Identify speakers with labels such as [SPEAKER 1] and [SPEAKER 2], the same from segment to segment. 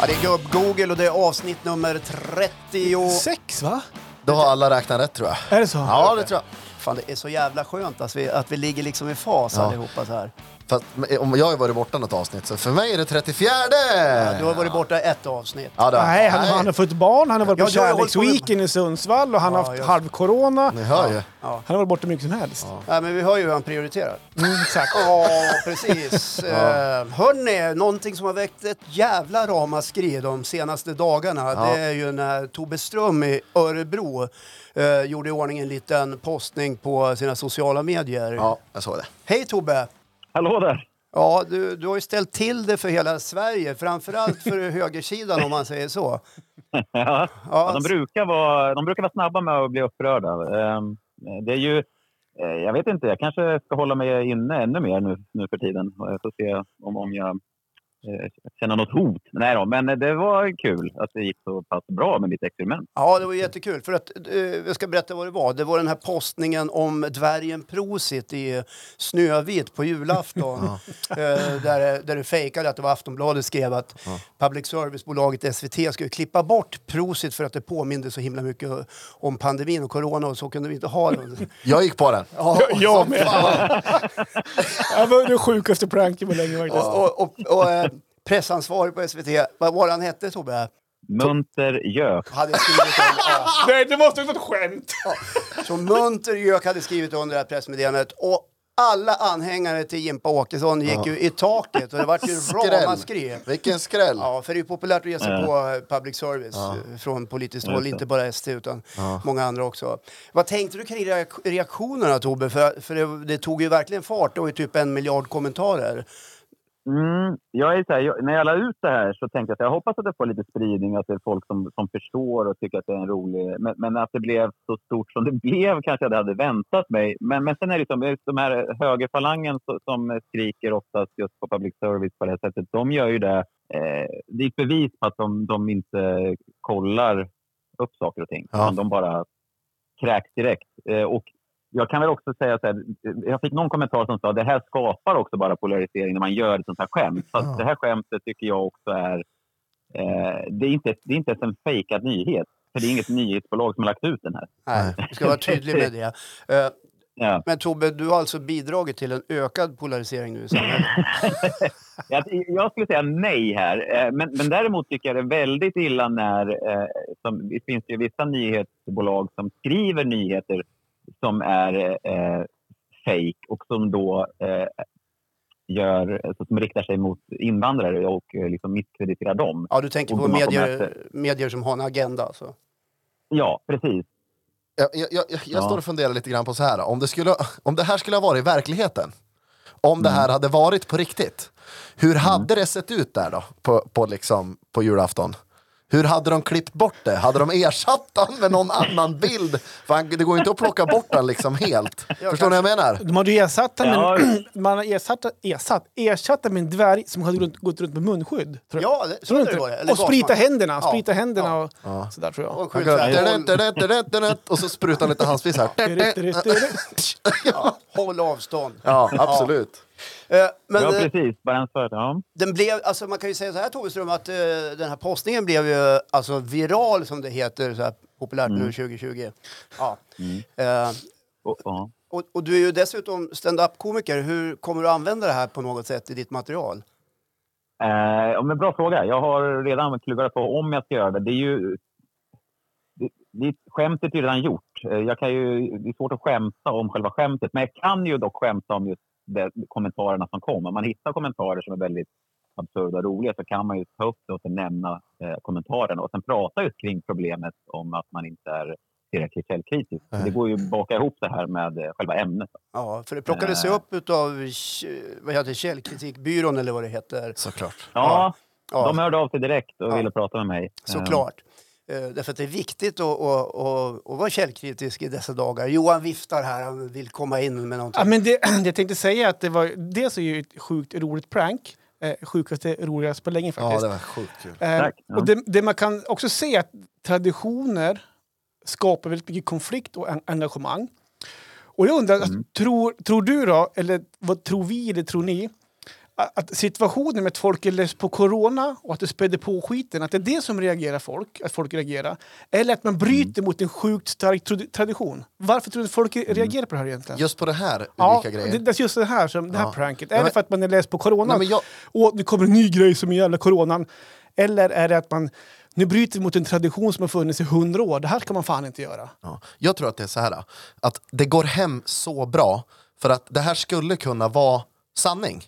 [SPEAKER 1] Ja, det är gubb-Google och det är avsnitt nummer 30.
[SPEAKER 2] Sex va?
[SPEAKER 3] Då har alla räknat rätt tror jag.
[SPEAKER 2] Är det så?
[SPEAKER 3] Ja, det tror jag.
[SPEAKER 1] Fan, det är så jävla skönt att vi, att vi ligger liksom i fas
[SPEAKER 3] Ja.
[SPEAKER 1] allihopa så här.
[SPEAKER 3] Fast men, om jag har varit borta något avsnitt, så för mig är det 34!
[SPEAKER 1] Ja, du har varit borta ett avsnitt.
[SPEAKER 3] Ja, då.
[SPEAKER 2] Nej, han, han har fått barn, han har varit
[SPEAKER 1] Ja,
[SPEAKER 2] på
[SPEAKER 1] jag har hållit på med-
[SPEAKER 2] kärleksweekend i Sundsvall och han har
[SPEAKER 1] Ja,
[SPEAKER 2] haft
[SPEAKER 1] just-
[SPEAKER 2] halvcorona.
[SPEAKER 3] Ni hör ju.
[SPEAKER 1] Ja.
[SPEAKER 2] Han har varit borta mycket som helst.
[SPEAKER 1] Nej, men vi hör ju hur han prioriterar.
[SPEAKER 2] Mm, exakt.
[SPEAKER 1] Ja, precis. eh, hörni, någonting som har väckt ett jävla ramaskri de senaste dagarna det är ju när Tobbe Ström i Örebro eh, gjorde i ordning en liten postning på sina sociala medier.
[SPEAKER 3] Ja, jag såg det.
[SPEAKER 1] Hej Tobbe!
[SPEAKER 4] Hallå där!
[SPEAKER 1] Ja, du, du har ju ställt till det för hela Sverige, framförallt för högersidan om man säger så.
[SPEAKER 4] Ja.
[SPEAKER 1] Ja,
[SPEAKER 4] De, brukar vara, de brukar vara snabba med att bli upprörda. Ehm, Det är ju, eh, jag vet inte, jag kanske ska hålla mig inne ännu mer nu, nu för tiden. Jag får se om, om jag eh, känner något hot. Nej då, men det var kul att det gick så pass bra med mitt experiment.
[SPEAKER 1] Ja, det var jättekul. För att, eh, jag ska berätta vad det var. Det var den här postningen om dvärgen Prosit i Snövit på julafton. eh, där, det- där det fejkade att det var Aftonbladet skrev att public service-bolaget SVT skulle klippa bort Prosit för att det påminde så himla mycket om pandemin och corona och så kunde vi inte ha det.
[SPEAKER 3] Jag gick på den.
[SPEAKER 2] jag jag med. Det var den sjukaste pranken på länge faktiskt.
[SPEAKER 1] och och, och eh, pressansvarig på SVT, vad var det han hette Tobbe?
[SPEAKER 4] Munter gök.
[SPEAKER 1] Hade jag skrivit om, ja.
[SPEAKER 2] Nej, det måste ha varit ett skämt!
[SPEAKER 1] Så munter gök hade skrivit under det här pressmeddelandet och alla anhängare till Jimpa Åkesson gick ju i taket och det vart ju ramaskri.
[SPEAKER 3] Vilken skräll!
[SPEAKER 1] Ja, för det är ju populärt att ge sig
[SPEAKER 4] Ja.
[SPEAKER 1] på eh, public service eh, från politiskt håll,
[SPEAKER 4] det.
[SPEAKER 1] inte bara ST utan många andra också. Vad tänkte du kring reak- reaktionerna Tobbe? För, för det, det tog ju verkligen fart, det var ju typ en miljard kommentarer.
[SPEAKER 4] Mm, jag är så här, jag, när jag la ut det här så tänkte jag att jag hoppas att det får lite spridning, att det är folk som, som förstår och tycker att det är en rolig... Men, men att det blev så stort som det blev kanske jag inte hade väntat mig. Men, men sen är det som liksom, de här högerfalangen som, som skriker oftast just på public service på det här sättet. De gör ju det... Eh, det är ett bevis på att de, de inte kollar upp saker och ting.
[SPEAKER 3] Ja.
[SPEAKER 4] Utan de bara kräks direkt. Eh, och jag kan väl också säga så här, jag fick någon kommentar som sa det här skapar också bara polarisering när man gör ett sånt här skämt. Fast
[SPEAKER 3] Ja.
[SPEAKER 4] det här skämtet tycker jag också är, eh, det är inte, det är inte ens en fejkad nyhet. För det är inget nyhetsbolag som har lagt ut den här.
[SPEAKER 1] Nej, jag ska vara tydlig med det. Eh,
[SPEAKER 4] Ja.
[SPEAKER 1] Men Tobbe, du har alltså bidragit till en ökad polarisering nu i samhället?
[SPEAKER 4] Jag, jag skulle säga nej här. Eh, Men, men däremot tycker jag det är väldigt illa när... eh, Som, det finns ju vissa nyhetsbolag som skriver nyheter som är eh, fake och som då eh, gör, alltså, som riktar sig mot invandrare och eh, liksom misskrediterar dem.
[SPEAKER 1] Ja, du tänker
[SPEAKER 4] Och
[SPEAKER 1] på
[SPEAKER 4] de har på
[SPEAKER 1] medier,
[SPEAKER 4] möte.
[SPEAKER 1] medier som har en agenda alltså?
[SPEAKER 4] Ja, precis.
[SPEAKER 3] Jag, jag, jag, jag
[SPEAKER 4] Ja.
[SPEAKER 3] står och funderar lite grann på så här. Om det, skulle, om det här skulle ha varit i verkligheten, om det här hade varit på riktigt, hur hade det sett ut där då? På, på, liksom, på julafton? Hur hade de klippt bort det? Hade de ersatt den med någon annan bild? För han, det går ju inte att plocka bort den liksom helt. Förstår ni vad jag menar?
[SPEAKER 2] De hade ju ersatt den med,
[SPEAKER 4] Ja.
[SPEAKER 2] man har ersatt, ersatt, ersatt den med en dvärg som hade runt, gått runt med munskydd. tror jag.
[SPEAKER 1] Ja, det- så
[SPEAKER 2] Tror du
[SPEAKER 1] hade det varit, eller
[SPEAKER 2] Och sprita
[SPEAKER 1] gasmask.
[SPEAKER 2] händerna,
[SPEAKER 1] Ja,
[SPEAKER 2] sprita händerna
[SPEAKER 1] ja.
[SPEAKER 2] och sådär tror jag.
[SPEAKER 1] Och
[SPEAKER 3] Han
[SPEAKER 1] skjuter
[SPEAKER 3] går,
[SPEAKER 1] här, håll,
[SPEAKER 3] "Dudut, dudut, dudut", Och så sprutar han lite handsprit så här.
[SPEAKER 1] ja, håll avstånd.
[SPEAKER 3] Ja, absolut.
[SPEAKER 1] Eh, Men
[SPEAKER 4] ja,
[SPEAKER 1] eh,
[SPEAKER 4] precis. Balansföret. Ja.
[SPEAKER 1] den blev, alltså man kan ju säga så här Toveström, att eh, den här postningen blev ju alltså viral som det heter så här populärt
[SPEAKER 4] Mm.
[SPEAKER 1] nu 2020. Ja. Eh,
[SPEAKER 4] Och, ja.
[SPEAKER 1] och, och du är ju dessutom stand-up-komiker. Hur kommer du använda det här på något sätt i ditt material?
[SPEAKER 4] Eh, ja, men bra fråga. Jag har redan klurat på om jag ska göra det. Det är ju... Det, det, skämtet är ju redan gjort. Eh, Jag kan ju, det är svårt att skämta om själva skämtet, men jag kan ju dock skämta om just de kommentarerna som kom. Om man hittar kommentarer som är väldigt absurda och roliga så kan man ju ta upp det och sen nämna eh, kommentarerna och sen prata just kring problemet om att man inte är tillräckligt källkritisk. Det går ju att baka ihop det här med eh, själva ämnet.
[SPEAKER 1] Ja, för det plockades ju
[SPEAKER 4] Eh.
[SPEAKER 1] upp av vad heter, det, Källkritikbyrån eller vad det heter.
[SPEAKER 3] Såklart.
[SPEAKER 4] Ja,
[SPEAKER 1] Ja.
[SPEAKER 4] de hörde av sig direkt och
[SPEAKER 1] Ja.
[SPEAKER 4] ville prata med mig. Eh,
[SPEAKER 1] Såklart. Eh, Därför att det är viktigt att, att, att, att vara källkritisk i dessa dagar. Johan viftar här, han vill komma in med någonting.
[SPEAKER 2] Ja, men det, det jag tänkte säga är att det var dels är ju ett sjukt roligt prank. Eh, sjukaste roligaste på länge
[SPEAKER 3] Ja,
[SPEAKER 2] faktiskt.
[SPEAKER 3] det var sjukt kul.
[SPEAKER 2] Eh,
[SPEAKER 4] Tack. Ja.
[SPEAKER 2] och det, det man kan också se är att traditioner skapar väldigt mycket konflikt och en- engagemang.
[SPEAKER 4] Mm.
[SPEAKER 2] Och jag undrar, alltså, tror, tror du då, eller vad tror vi eller tror ni, att att situationen med att folk är less på corona och att det spädde på skiten, att det är det som reagerar folk, att folk reagerar. Eller
[SPEAKER 4] Mm.
[SPEAKER 2] att man bryter mot en sjukt stark trad- tradition. Varför tror du att folk
[SPEAKER 4] Mm.
[SPEAKER 2] reagerar på det här egentligen?
[SPEAKER 3] Just på det här unika
[SPEAKER 2] Ja,
[SPEAKER 3] grejen.
[SPEAKER 2] det, det är just det här, som, det här
[SPEAKER 3] Ja.
[SPEAKER 2] pranket. Är
[SPEAKER 3] Nej,
[SPEAKER 2] det
[SPEAKER 3] men-
[SPEAKER 2] för att man är less på coronan?
[SPEAKER 3] Nej, men jag-
[SPEAKER 2] Och det kommer en ny grej som är jävla coronan. Eller är det att man nu bryter vi mot en tradition som har funnits i hundra år. Det här kan man fan inte göra.
[SPEAKER 3] Ja. Jag tror att det är så här, att det går hem så bra för att det här skulle kunna vara sanning.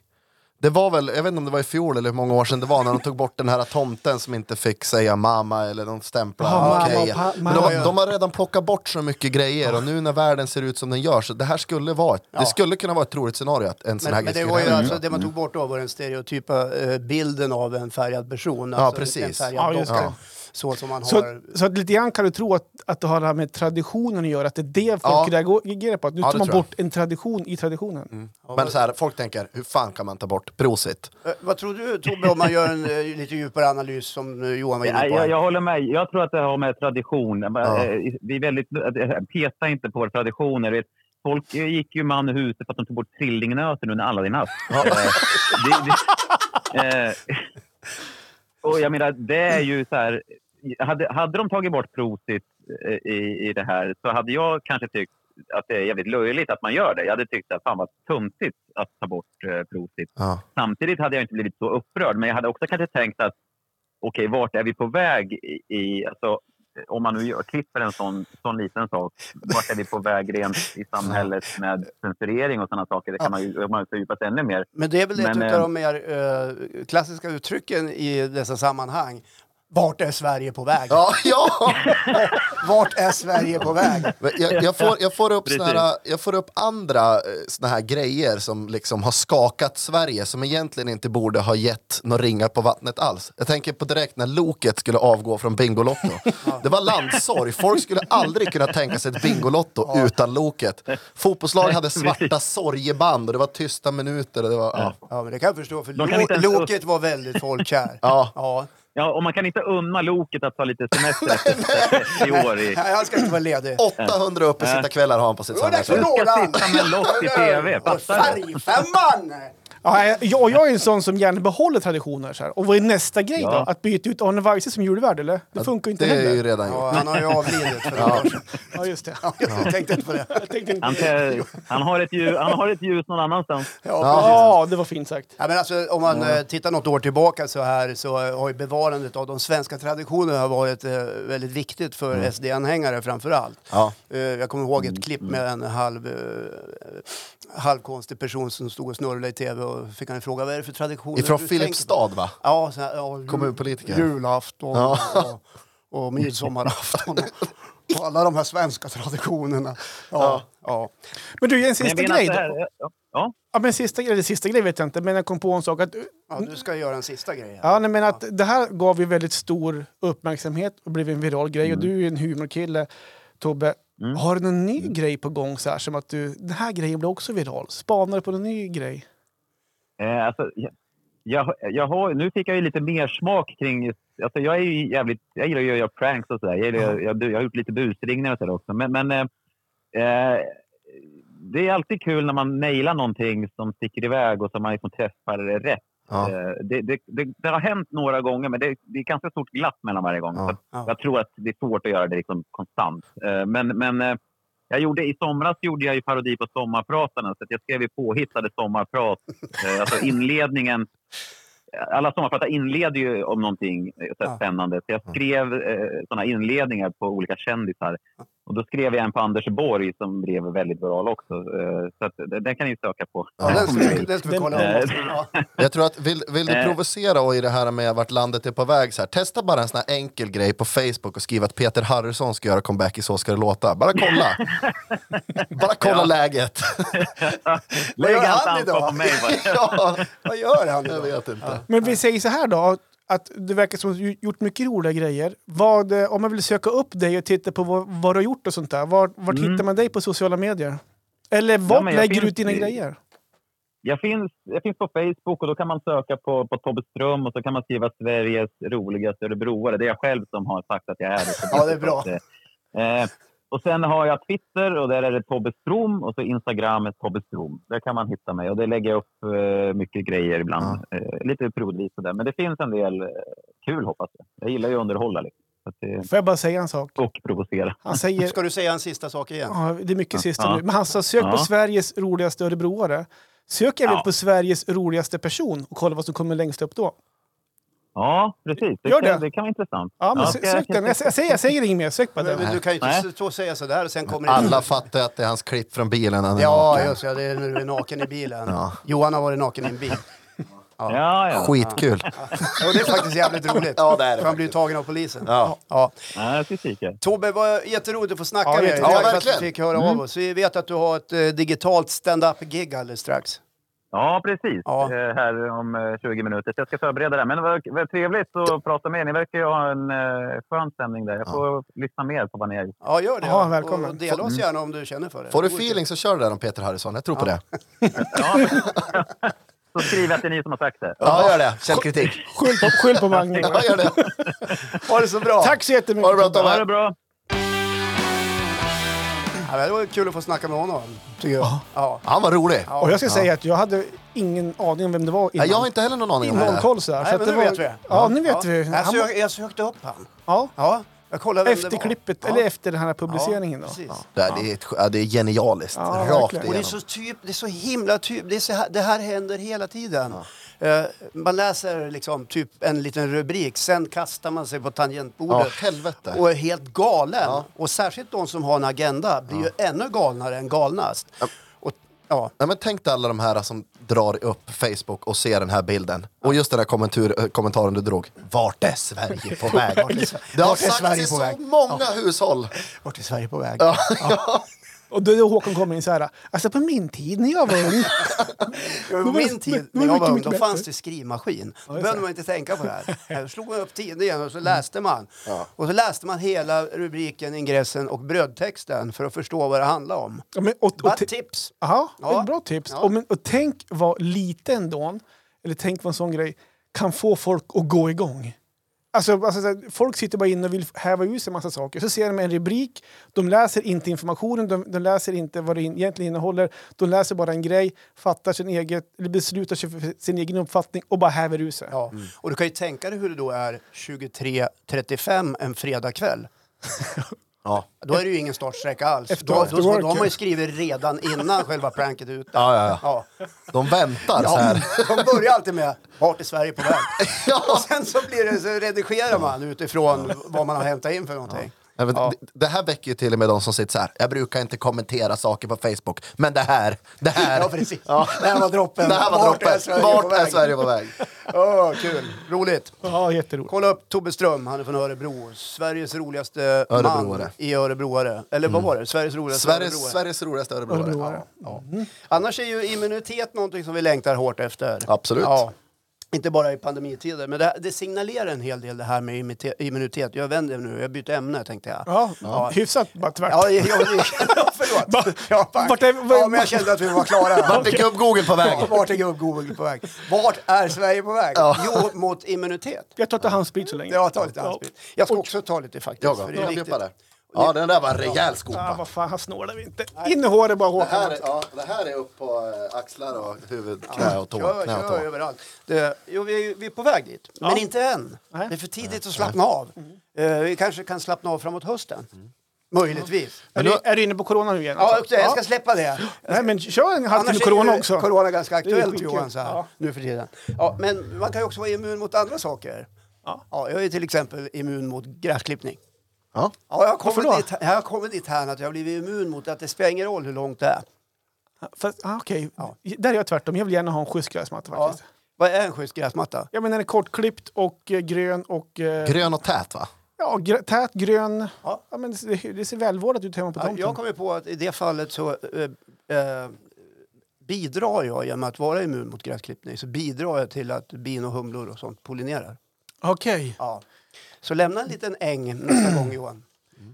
[SPEAKER 3] Det var väl, jag vet inte om det var i fjol eller hur många år sedan det var när de tog bort den här tomten som inte fick säga mamma eller de stämplar.
[SPEAKER 2] Ja, mamma
[SPEAKER 3] okej.
[SPEAKER 2] och pa-
[SPEAKER 3] Men de,
[SPEAKER 2] mamma.
[SPEAKER 3] har- de har redan plockat bort så mycket grejer och nu när världen ser ut som den gör så det här skulle vara, ett, det skulle kunna vara ett troligt scenario att en sån här
[SPEAKER 1] Men,
[SPEAKER 3] Mm.
[SPEAKER 1] men
[SPEAKER 3] grej
[SPEAKER 1] det
[SPEAKER 3] skulle
[SPEAKER 1] var ju
[SPEAKER 3] hända.
[SPEAKER 1] alltså, det man tog bort då var den stereotypa eh, bilden av en färgad person. Alltså En
[SPEAKER 3] precis.
[SPEAKER 1] färgad
[SPEAKER 2] Ja, just
[SPEAKER 1] docka.
[SPEAKER 2] det.
[SPEAKER 1] Så som man
[SPEAKER 2] Så,
[SPEAKER 1] har.
[SPEAKER 2] så att lite grann kan du tro att, att det har det här med traditionen att göra, att det är det folk
[SPEAKER 3] Ja.
[SPEAKER 2] reagerar på. Att nu
[SPEAKER 3] Ja, det
[SPEAKER 2] tar man
[SPEAKER 3] tror jag. Mm.
[SPEAKER 2] bort en tradition i traditionen.
[SPEAKER 3] Men så här, folk tänker, hur fan kan man ta bort prosit?
[SPEAKER 1] Eh, Vad tror du Tobbe om man gör en eh, lite djupare analys som eh, Johan var inne på?
[SPEAKER 4] Nej,
[SPEAKER 1] här?
[SPEAKER 4] jag, jag håller med. Jag tror att det har med tradition.
[SPEAKER 3] Ja.
[SPEAKER 4] Eh, Vi är väldigt, eh, peta inte på våra traditioner. Vet, Folk eh, gick ju man i huset för att de tog bort trillingnöten under Aladdin-ask. Eh, det, det, eh, och jag menar, det är ju så här... Hade, hade de tagit bort Prosit eh, i, i det här så hade jag kanske tyckt att det är jävligt löjligt att man gör det. Jag hade tyckt att fan vad töntigt att ta bort eh, Prosit.
[SPEAKER 3] Ja.
[SPEAKER 4] Samtidigt hade jag inte blivit så upprörd, men jag hade också kanske tänkt att okej, vart är vi på väg i- i... Alltså, om man nu gör, klipper en sån, sån liten sak, vart är vi på väg rent i samhället med censurering och sådana saker? Det kan man ju man ju fördjupa sig ännu mer.
[SPEAKER 1] Men det är väl ett
[SPEAKER 4] Men,
[SPEAKER 1] av de mer eh, klassiska uttrycken i dessa sammanhang. Vart är Sverige på väg?
[SPEAKER 3] Ja, ja!
[SPEAKER 1] Vart är Sverige på väg?
[SPEAKER 3] Men Jag, jag, får, jag, får upp
[SPEAKER 4] Precis.
[SPEAKER 3] såna här, jag får upp andra eh, såna här grejer som liksom har skakat Sverige som egentligen inte borde ha gett några ringar på vattnet alls. Jag tänker på direkt när loket skulle avgå från Bingolotto. Det var landsorg. Folk skulle aldrig kunna tänka sig ett Bingolotto utan loket. Fotbollslag hade svarta sorgeband och det var tysta minuter. Och det var, ja.
[SPEAKER 1] Ja, men det kan jag förstå, för
[SPEAKER 4] De kan inte
[SPEAKER 1] lo-
[SPEAKER 4] ens-
[SPEAKER 1] loket var väldigt folkkär.
[SPEAKER 3] Ja.
[SPEAKER 1] ja.
[SPEAKER 4] Ja, och man kan inte unna loket att ta lite semester efter 30 år. I,
[SPEAKER 1] Nej, han ska inte vara ledig.
[SPEAKER 3] 800 uppe sitta kvällar har han på sitt
[SPEAKER 1] Då är det dags för
[SPEAKER 3] samvete.
[SPEAKER 1] lådan!
[SPEAKER 4] sitta med lock i TV,
[SPEAKER 1] Och
[SPEAKER 4] fattar du?
[SPEAKER 1] Färgfemman!
[SPEAKER 2] Ja, jag, jag jag är en sån som gärna behåller traditioner. Så här. Och vad är nästa grej
[SPEAKER 4] Ja.
[SPEAKER 2] då? Att byta ut Arne Weise som julvärd eller? Det funkar ju inte
[SPEAKER 3] Det är ju
[SPEAKER 2] heller.
[SPEAKER 3] redan gjort.
[SPEAKER 1] Ja, han har ju avlidit för några år sedan.
[SPEAKER 2] Ja, just det.
[SPEAKER 1] Jag tänkte inte på det.
[SPEAKER 2] Jag tänkte inte...
[SPEAKER 4] Han, han, har ett ljus, han har ett ljus någon annanstans.
[SPEAKER 1] Ja.
[SPEAKER 2] Ja, det var fint sagt.
[SPEAKER 1] Ja, men alltså, om man eh, tittar något år tillbaka så här så eh, har ju bevarandet av de svenska traditionerna har varit eh, väldigt viktigt för SD-anhängare framför allt.
[SPEAKER 3] Mm. Ja. Mm.
[SPEAKER 1] Eh, jag kommer ihåg ett klipp med en halv, eh, halvkonstig person som stod och snurrade i tv och fick han en fråga vad är det för traditioner
[SPEAKER 3] Ifrån
[SPEAKER 1] du tänker på?"
[SPEAKER 3] Filipstad va?
[SPEAKER 1] Ja, så här, ja jul-
[SPEAKER 3] Kommunpolitiker.
[SPEAKER 1] Julafton
[SPEAKER 3] Ja.
[SPEAKER 1] och, och midsommarafton. Och, och alla de här svenska traditionerna. Ja, ja.
[SPEAKER 2] Men du, en
[SPEAKER 4] Men jag
[SPEAKER 2] sista
[SPEAKER 4] menar att
[SPEAKER 2] grej
[SPEAKER 4] det här-
[SPEAKER 2] då.
[SPEAKER 4] ja, ja.
[SPEAKER 2] Ja, men sista, eller sista grej vet jag inte, men jag kom på en sak. Att,
[SPEAKER 1] ja, du ska göra en sista grej. Här.
[SPEAKER 2] ja, nej, men att det här gav ju väldigt stor uppmärksamhet och blev en viral grej.
[SPEAKER 4] Mm.
[SPEAKER 2] Och du är ju en humorkille, Tobbe. Har du någon
[SPEAKER 4] Mm.
[SPEAKER 2] ny grej på gång så här som att du, den här grejen blev också viral? Spanar du på någon ny grej?
[SPEAKER 4] Eh, alltså, jag, jag, jag har, nu fick jag ju lite mer smak kring... Alltså, jag, är ju jävligt, jag gillar ju att göra pranks och sådär. Jag, gillar- jag, jag har gjort lite busringningar och sådär också. Men, men eh, eh, det är alltid kul när man nailar någonting som sticker iväg och som man liksom träffar rätt.
[SPEAKER 3] Ja.
[SPEAKER 4] Eh, Det, det, det, det har hänt några gånger, men det, det är ganska stort glapp mellan varje gång.
[SPEAKER 3] Ja.
[SPEAKER 4] Så att
[SPEAKER 1] Ja.
[SPEAKER 4] Jag tror att det är svårt att göra det liksom konstant. Eh, Men, men eh, jag gjorde, i somras gjorde jag ju parodi på Sommarpratarna, så att jag skrev ju påhittade sommarprat. Eh, Alltså inledningen. Alla sommarpratar inleder ju om någonting eh, så här
[SPEAKER 1] Ja.
[SPEAKER 4] spännande. Så jag skrev eh, sådana inledningar på olika kändisar. Och då skrev jag en på Anders Borg som blev väldigt viral också. Eh, Så att, den- den kan ni söka på.
[SPEAKER 1] Ja, den,
[SPEAKER 4] kommer
[SPEAKER 1] ska,
[SPEAKER 4] vi.
[SPEAKER 1] den ska vi kolla
[SPEAKER 4] Den-
[SPEAKER 1] om. Ja.
[SPEAKER 3] Jag tror att vill, vill du
[SPEAKER 4] Eh.
[SPEAKER 3] provocera och i det här med vart landet är på väg så här, testa bara en sån här enkel grej på Facebook och skriv att Peter Harrison ska göra comeback i Så ska det låta. Bara kolla. bara kolla läget.
[SPEAKER 1] Vad
[SPEAKER 4] Lägg
[SPEAKER 1] gör
[SPEAKER 4] allt
[SPEAKER 1] han
[SPEAKER 4] ansvar
[SPEAKER 1] idag?
[SPEAKER 4] på mig bara.
[SPEAKER 3] ja,
[SPEAKER 1] Vad gör han
[SPEAKER 3] jag
[SPEAKER 1] idag?
[SPEAKER 3] vet inte.
[SPEAKER 2] Men vi säger så här då, att det verkar som att du gjort mycket roliga grejer. Vad, eh, om man vill söka upp dig och titta på vad, vad du har gjort och sånt där, var, vart hittar man dig på sociala medier? Eller vart
[SPEAKER 4] Mm. men jag
[SPEAKER 2] lägger du
[SPEAKER 4] finns
[SPEAKER 2] ut dina
[SPEAKER 4] i-
[SPEAKER 2] grejer?
[SPEAKER 4] Jag finns, jag finns på Facebook och då kan man söka på, på Tobbe Ström och så kan man skriva Sveriges roligaste örebroare. Det är jag själv som har sagt att jag är det.
[SPEAKER 1] Ja, det är bra.
[SPEAKER 4] Så att, eh, Och sen har jag Twitter och där är det Tobbe Strom och så Instagram är Tobbe Strom. Där kan man hitta mig och det lägger jag upp eh, mycket grejer ibland. Eh, lite periodvis och där. Men det finns en del eh, kul hoppas jag. Jag gillar ju att underhålla liksom. Så att det,
[SPEAKER 2] Får jag bara säga en sak?
[SPEAKER 4] och provocera.
[SPEAKER 2] Han säger...
[SPEAKER 1] Ska du säga en sista sak igen?
[SPEAKER 2] Ja, det är mycket sista
[SPEAKER 4] Ja.
[SPEAKER 2] nu. Men han sa sök på
[SPEAKER 4] Ja.
[SPEAKER 2] Sveriges roligaste örebroare. Sök även
[SPEAKER 4] Ja.
[SPEAKER 2] på Sveriges roligaste person och kolla vad som kommer längst upp då.
[SPEAKER 4] Ja, precis. Det,
[SPEAKER 2] Gör
[SPEAKER 4] kan,
[SPEAKER 2] det.
[SPEAKER 4] det kan vara intressant.
[SPEAKER 2] Ja, men
[SPEAKER 4] Ja,
[SPEAKER 2] sö-
[SPEAKER 4] ska jag-
[SPEAKER 2] sök den. Jag, sä- jag, säger, jag säger inget mer. Sök bara
[SPEAKER 1] Men,
[SPEAKER 2] den.
[SPEAKER 1] men du kan ju
[SPEAKER 4] Nej.
[SPEAKER 1] inte stå och säga sådär och sen kommer
[SPEAKER 3] Alla
[SPEAKER 1] inte-
[SPEAKER 3] fattar att det är hans klipp från bilen när han är
[SPEAKER 1] Ja,
[SPEAKER 3] naken.
[SPEAKER 1] just det. Det är när du är naken i bilen.
[SPEAKER 3] Ja.
[SPEAKER 1] Johan har varit naken i en bil.
[SPEAKER 4] Ja, ja.
[SPEAKER 3] Skitkul.
[SPEAKER 1] Och det är faktiskt jävligt roligt.
[SPEAKER 3] Ja, det är det
[SPEAKER 1] För han blir ju tagen av polisen.
[SPEAKER 3] Ja.
[SPEAKER 1] Ja.
[SPEAKER 4] Nej, jag ska kika.
[SPEAKER 1] Tobbe, vad jätteroligt att få snacka
[SPEAKER 2] Ja, Mm.
[SPEAKER 1] med dig.
[SPEAKER 2] jätteroligt.
[SPEAKER 3] Ja,
[SPEAKER 1] Tack för att du
[SPEAKER 3] verkligen.
[SPEAKER 1] fick höra av oss. Vi vet att du har ett eh, digitalt stand-up-gig alldeles strax.
[SPEAKER 4] Ja, precis.
[SPEAKER 1] Ja.
[SPEAKER 4] Eh, här om eh, 20 minuter. Så jag ska förbereda det. Men vad, vad trevligt att prata med er. Ni verkar ju ha en eh, skön stämning där. Jag får lyssna mer på vad ni har gjort.
[SPEAKER 1] Ja, gör det.
[SPEAKER 2] Ja, välkommen.
[SPEAKER 1] Och dela oss gärna om du känner för det.
[SPEAKER 3] Mm. Får du
[SPEAKER 1] Det vore kul.
[SPEAKER 3] feeling så kör du där om Peter Harrison. Jag tror på det.
[SPEAKER 4] Ja. Så skriv att det är ni som har sagt det.
[SPEAKER 3] Ja, gör det. Källkritik.
[SPEAKER 2] Skyll på, skyll på Magnus.
[SPEAKER 3] Ja, gör det.
[SPEAKER 1] Ha det så bra!
[SPEAKER 2] Tack så
[SPEAKER 3] Ha det
[SPEAKER 2] jättemycket.
[SPEAKER 3] bra
[SPEAKER 4] Ha det
[SPEAKER 3] Tobbe.
[SPEAKER 4] bra!
[SPEAKER 1] Ja, men det var kul att få snacka med honom, tycker jag. Ja.
[SPEAKER 3] Han var rolig.
[SPEAKER 2] Och jag ska säga att jag hade ingen aning om vem det var
[SPEAKER 3] Ja,
[SPEAKER 2] innan.
[SPEAKER 3] jag har inte heller någon aning om det.
[SPEAKER 2] Innehållkoll sådär.
[SPEAKER 1] Nej,
[SPEAKER 2] så att
[SPEAKER 1] men
[SPEAKER 2] det
[SPEAKER 1] nu
[SPEAKER 2] var...
[SPEAKER 1] vet vi. Alltså,
[SPEAKER 2] Ja, nu vet vi.
[SPEAKER 1] Jag,
[SPEAKER 2] Han...
[SPEAKER 1] sök, jag sökte upp han.
[SPEAKER 2] Ja.
[SPEAKER 1] Ja, jag kollade vem
[SPEAKER 2] Efter
[SPEAKER 1] det var.
[SPEAKER 2] klippet,
[SPEAKER 1] Ja.
[SPEAKER 2] eller efter den här
[SPEAKER 1] Ja,
[SPEAKER 2] publiceringen då.
[SPEAKER 1] precis.
[SPEAKER 3] Det är, det är, ett- ja, det är genialiskt.
[SPEAKER 2] Ja,
[SPEAKER 3] Rakt
[SPEAKER 2] verkligen.
[SPEAKER 1] Och det är
[SPEAKER 3] igenom.
[SPEAKER 1] så, typ, det är så himla typ, det, är så här, det här händer hela tiden. Eh, man läser liksom typ en liten rubrik, sen kastar man sig på
[SPEAKER 3] Ja,
[SPEAKER 1] tangentbordet
[SPEAKER 3] helvete.
[SPEAKER 1] och är helt galen. Och särskilt de som har en agenda blir ju ännu galnare än galnast. Och, ja.
[SPEAKER 3] Nej, men tänk dig alla de här som drar upp Facebook och ser den här bilden. Och just den här kommentur, eh, kommentaren du drog. Vart är Sverige på väg?
[SPEAKER 1] Vart är-
[SPEAKER 3] Det har
[SPEAKER 1] vart är
[SPEAKER 3] sagts
[SPEAKER 1] Sverige
[SPEAKER 3] i
[SPEAKER 1] på
[SPEAKER 3] så
[SPEAKER 1] väg?
[SPEAKER 3] många hushåll.
[SPEAKER 1] Vart är Sverige på väg?
[SPEAKER 3] Ja, ja.
[SPEAKER 2] Och då då Håkan kommer in så här. Alltså på min tid när jag var ung.
[SPEAKER 1] Ja,
[SPEAKER 2] Det
[SPEAKER 1] På
[SPEAKER 2] var-
[SPEAKER 1] min tid,
[SPEAKER 2] det
[SPEAKER 1] när
[SPEAKER 2] var
[SPEAKER 1] jag
[SPEAKER 2] mycket,
[SPEAKER 1] var ung,
[SPEAKER 2] mycket
[SPEAKER 1] då
[SPEAKER 2] bättre.
[SPEAKER 1] fanns det skrivmaskin. Då behövde man inte tänka på det här. Här slog man upp tidningen och så läste man. Och så läste man hela rubriken, ingressen och brödtexten för att förstå vad det handlade om.
[SPEAKER 2] Ja, men, och,
[SPEAKER 1] Bara
[SPEAKER 2] och, te-
[SPEAKER 1] tips!
[SPEAKER 2] Aha,
[SPEAKER 1] Ja.
[SPEAKER 2] ett bra tips.
[SPEAKER 1] Ja.
[SPEAKER 2] Och, men, och tänk vad liten då, eller tänk vad en sån grej kan få folk att gå igång. Alltså, alltså, så här, folk sitter bara inne och vill häva ur sig en massa saker. Så ser de en rubrik, de läser inte informationen, de, de läser inte vad det in, egentligen innehåller. De läser bara en grej, fattar sin eget, eller beslutar sig för sin egen uppfattning och bara häver ur sig.
[SPEAKER 1] Ja. Och du kan ju tänka dig hur det då är 23.35 en fredagkväll.
[SPEAKER 3] Ja.
[SPEAKER 1] Då är det ju ingen startsträcka alls.
[SPEAKER 2] Efter
[SPEAKER 1] Då,
[SPEAKER 2] after
[SPEAKER 1] då, då,
[SPEAKER 2] work,
[SPEAKER 1] då har man
[SPEAKER 2] ja.
[SPEAKER 1] ju skrivit redan innan själva pranket är ute.
[SPEAKER 3] Ja, ja, ja.
[SPEAKER 1] Ja.
[SPEAKER 3] De väntar så
[SPEAKER 1] Ja,
[SPEAKER 3] här.
[SPEAKER 1] de börjar alltid med Vart är Sverige på väg?
[SPEAKER 3] Ja.
[SPEAKER 1] Och sen så, blir det, så redigerar man utifrån vad man har hämtat in för någonting.
[SPEAKER 3] Nej, men det- Det här väcker ju till och med de som sitter så här. Jag brukar inte kommentera saker på Facebook, men det här, det här.
[SPEAKER 1] Ja, precis. Det här var droppen.
[SPEAKER 3] Det här var
[SPEAKER 1] Vart
[SPEAKER 3] droppen.
[SPEAKER 1] är Sverige på
[SPEAKER 3] Vart är
[SPEAKER 1] väg?
[SPEAKER 3] Sverige på väg?
[SPEAKER 1] Åh, kul, roligt.
[SPEAKER 2] Ja, jätteroligt.
[SPEAKER 1] Kolla upp Tobbe Ström, han är från Örebro. Sveriges roligaste man
[SPEAKER 3] Örebroare. Mm.
[SPEAKER 1] i Örebroare. Eller vad var det? Sveriges roligaste
[SPEAKER 3] Sveriges,
[SPEAKER 1] Örebroare.
[SPEAKER 3] Sveriges roligaste örebroare.
[SPEAKER 2] Örebroare.
[SPEAKER 1] Annars är ju immunitet någonting som vi längtar hårt efter.
[SPEAKER 3] Absolut.
[SPEAKER 1] Ja. Inte bara i pandemitider, men det, det signalerar en hel del det här med imite- immunitet. Jag vänder nu, jag byter ämne tänkte jag.
[SPEAKER 2] Ja, hyfsat bara tvärt.
[SPEAKER 1] Ja, jag, jag, förlåt. Ja, tack.
[SPEAKER 2] vart är- var-
[SPEAKER 1] ja, men jag kände att vi var klara.
[SPEAKER 3] Vart är gubb-Google på väg?
[SPEAKER 1] Ja, Vart är gubb-Google på väg? Vart är Sverige på väg? Jo, mot immunitet.
[SPEAKER 2] Jag tar inte handsprit så länge.
[SPEAKER 1] Jag tar lite handsprit. Jag ska
[SPEAKER 2] Och-
[SPEAKER 1] också ta lite faktiskt.
[SPEAKER 3] Jag
[SPEAKER 1] för
[SPEAKER 3] går.
[SPEAKER 1] det är
[SPEAKER 3] Jag
[SPEAKER 1] viktigt.
[SPEAKER 3] bjuppar där. Ja, den där var en rejäl
[SPEAKER 2] Ah,
[SPEAKER 3] skopa.
[SPEAKER 2] vad fan, han snålar vi inte. In i håret bara
[SPEAKER 3] Det här,
[SPEAKER 2] Håkan.
[SPEAKER 3] är- ja, det här är upp på eh, axlar och huvud, knä och tå.
[SPEAKER 1] Kör,
[SPEAKER 3] knä och
[SPEAKER 1] kör
[SPEAKER 3] tå.
[SPEAKER 1] överallt. Det, jo, vi, är- vi är på väg dit, men inte än.
[SPEAKER 2] Nej.
[SPEAKER 1] Det är för tidigt att slappna av. Eh, vi kanske kan slappna av framåt hösten. Möjligtvis.
[SPEAKER 2] Är du, är du inne på corona nu igen?
[SPEAKER 1] Ja,
[SPEAKER 2] alltså?
[SPEAKER 1] och det, jag ska släppa det.
[SPEAKER 2] Nej, men kör en
[SPEAKER 1] Annars
[SPEAKER 2] halvtimme
[SPEAKER 1] är
[SPEAKER 2] corona
[SPEAKER 1] ju
[SPEAKER 2] också.
[SPEAKER 1] corona ganska
[SPEAKER 2] Det är ju
[SPEAKER 1] aktuellt
[SPEAKER 2] skitkul.
[SPEAKER 1] Johan, så här,
[SPEAKER 2] Ja.
[SPEAKER 1] nu för tiden. Ja, men man kan ju också vara immun mot andra saker.
[SPEAKER 2] Ja.
[SPEAKER 1] Ja, jag är till exempel immun mot gräsklippning.
[SPEAKER 3] Ja.
[SPEAKER 1] Ja, jag har
[SPEAKER 2] Varför då?
[SPEAKER 1] kommit, dit, jag har kommit dit här att jag har blivit immun mot att det spelar ingen roll hur långt det är.
[SPEAKER 2] Fast, ah, okej. Där är jag tvärtom. Jag vill gärna ha en schysst gräsmatta
[SPEAKER 1] Ja.
[SPEAKER 2] faktiskt.
[SPEAKER 1] Vad är en schysst gräsmatta?
[SPEAKER 2] Ja, men den är kortklippt och eh, grön och eh,
[SPEAKER 3] Grön och tät va?
[SPEAKER 2] ja, gr- tät grön. Ja.
[SPEAKER 1] Ja.
[SPEAKER 2] men det, det ser välvårdat ut hemma på
[SPEAKER 1] Ja,
[SPEAKER 2] tomten.
[SPEAKER 1] jag kommer på att i det fallet så eh, eh, bidrar jag genom att vara immun mot gräsklippning så bidrar jag till att bin och humlor och sånt pollinerar.
[SPEAKER 2] Okej.
[SPEAKER 1] Ja. Så lämna en liten äng nästa gång Johan.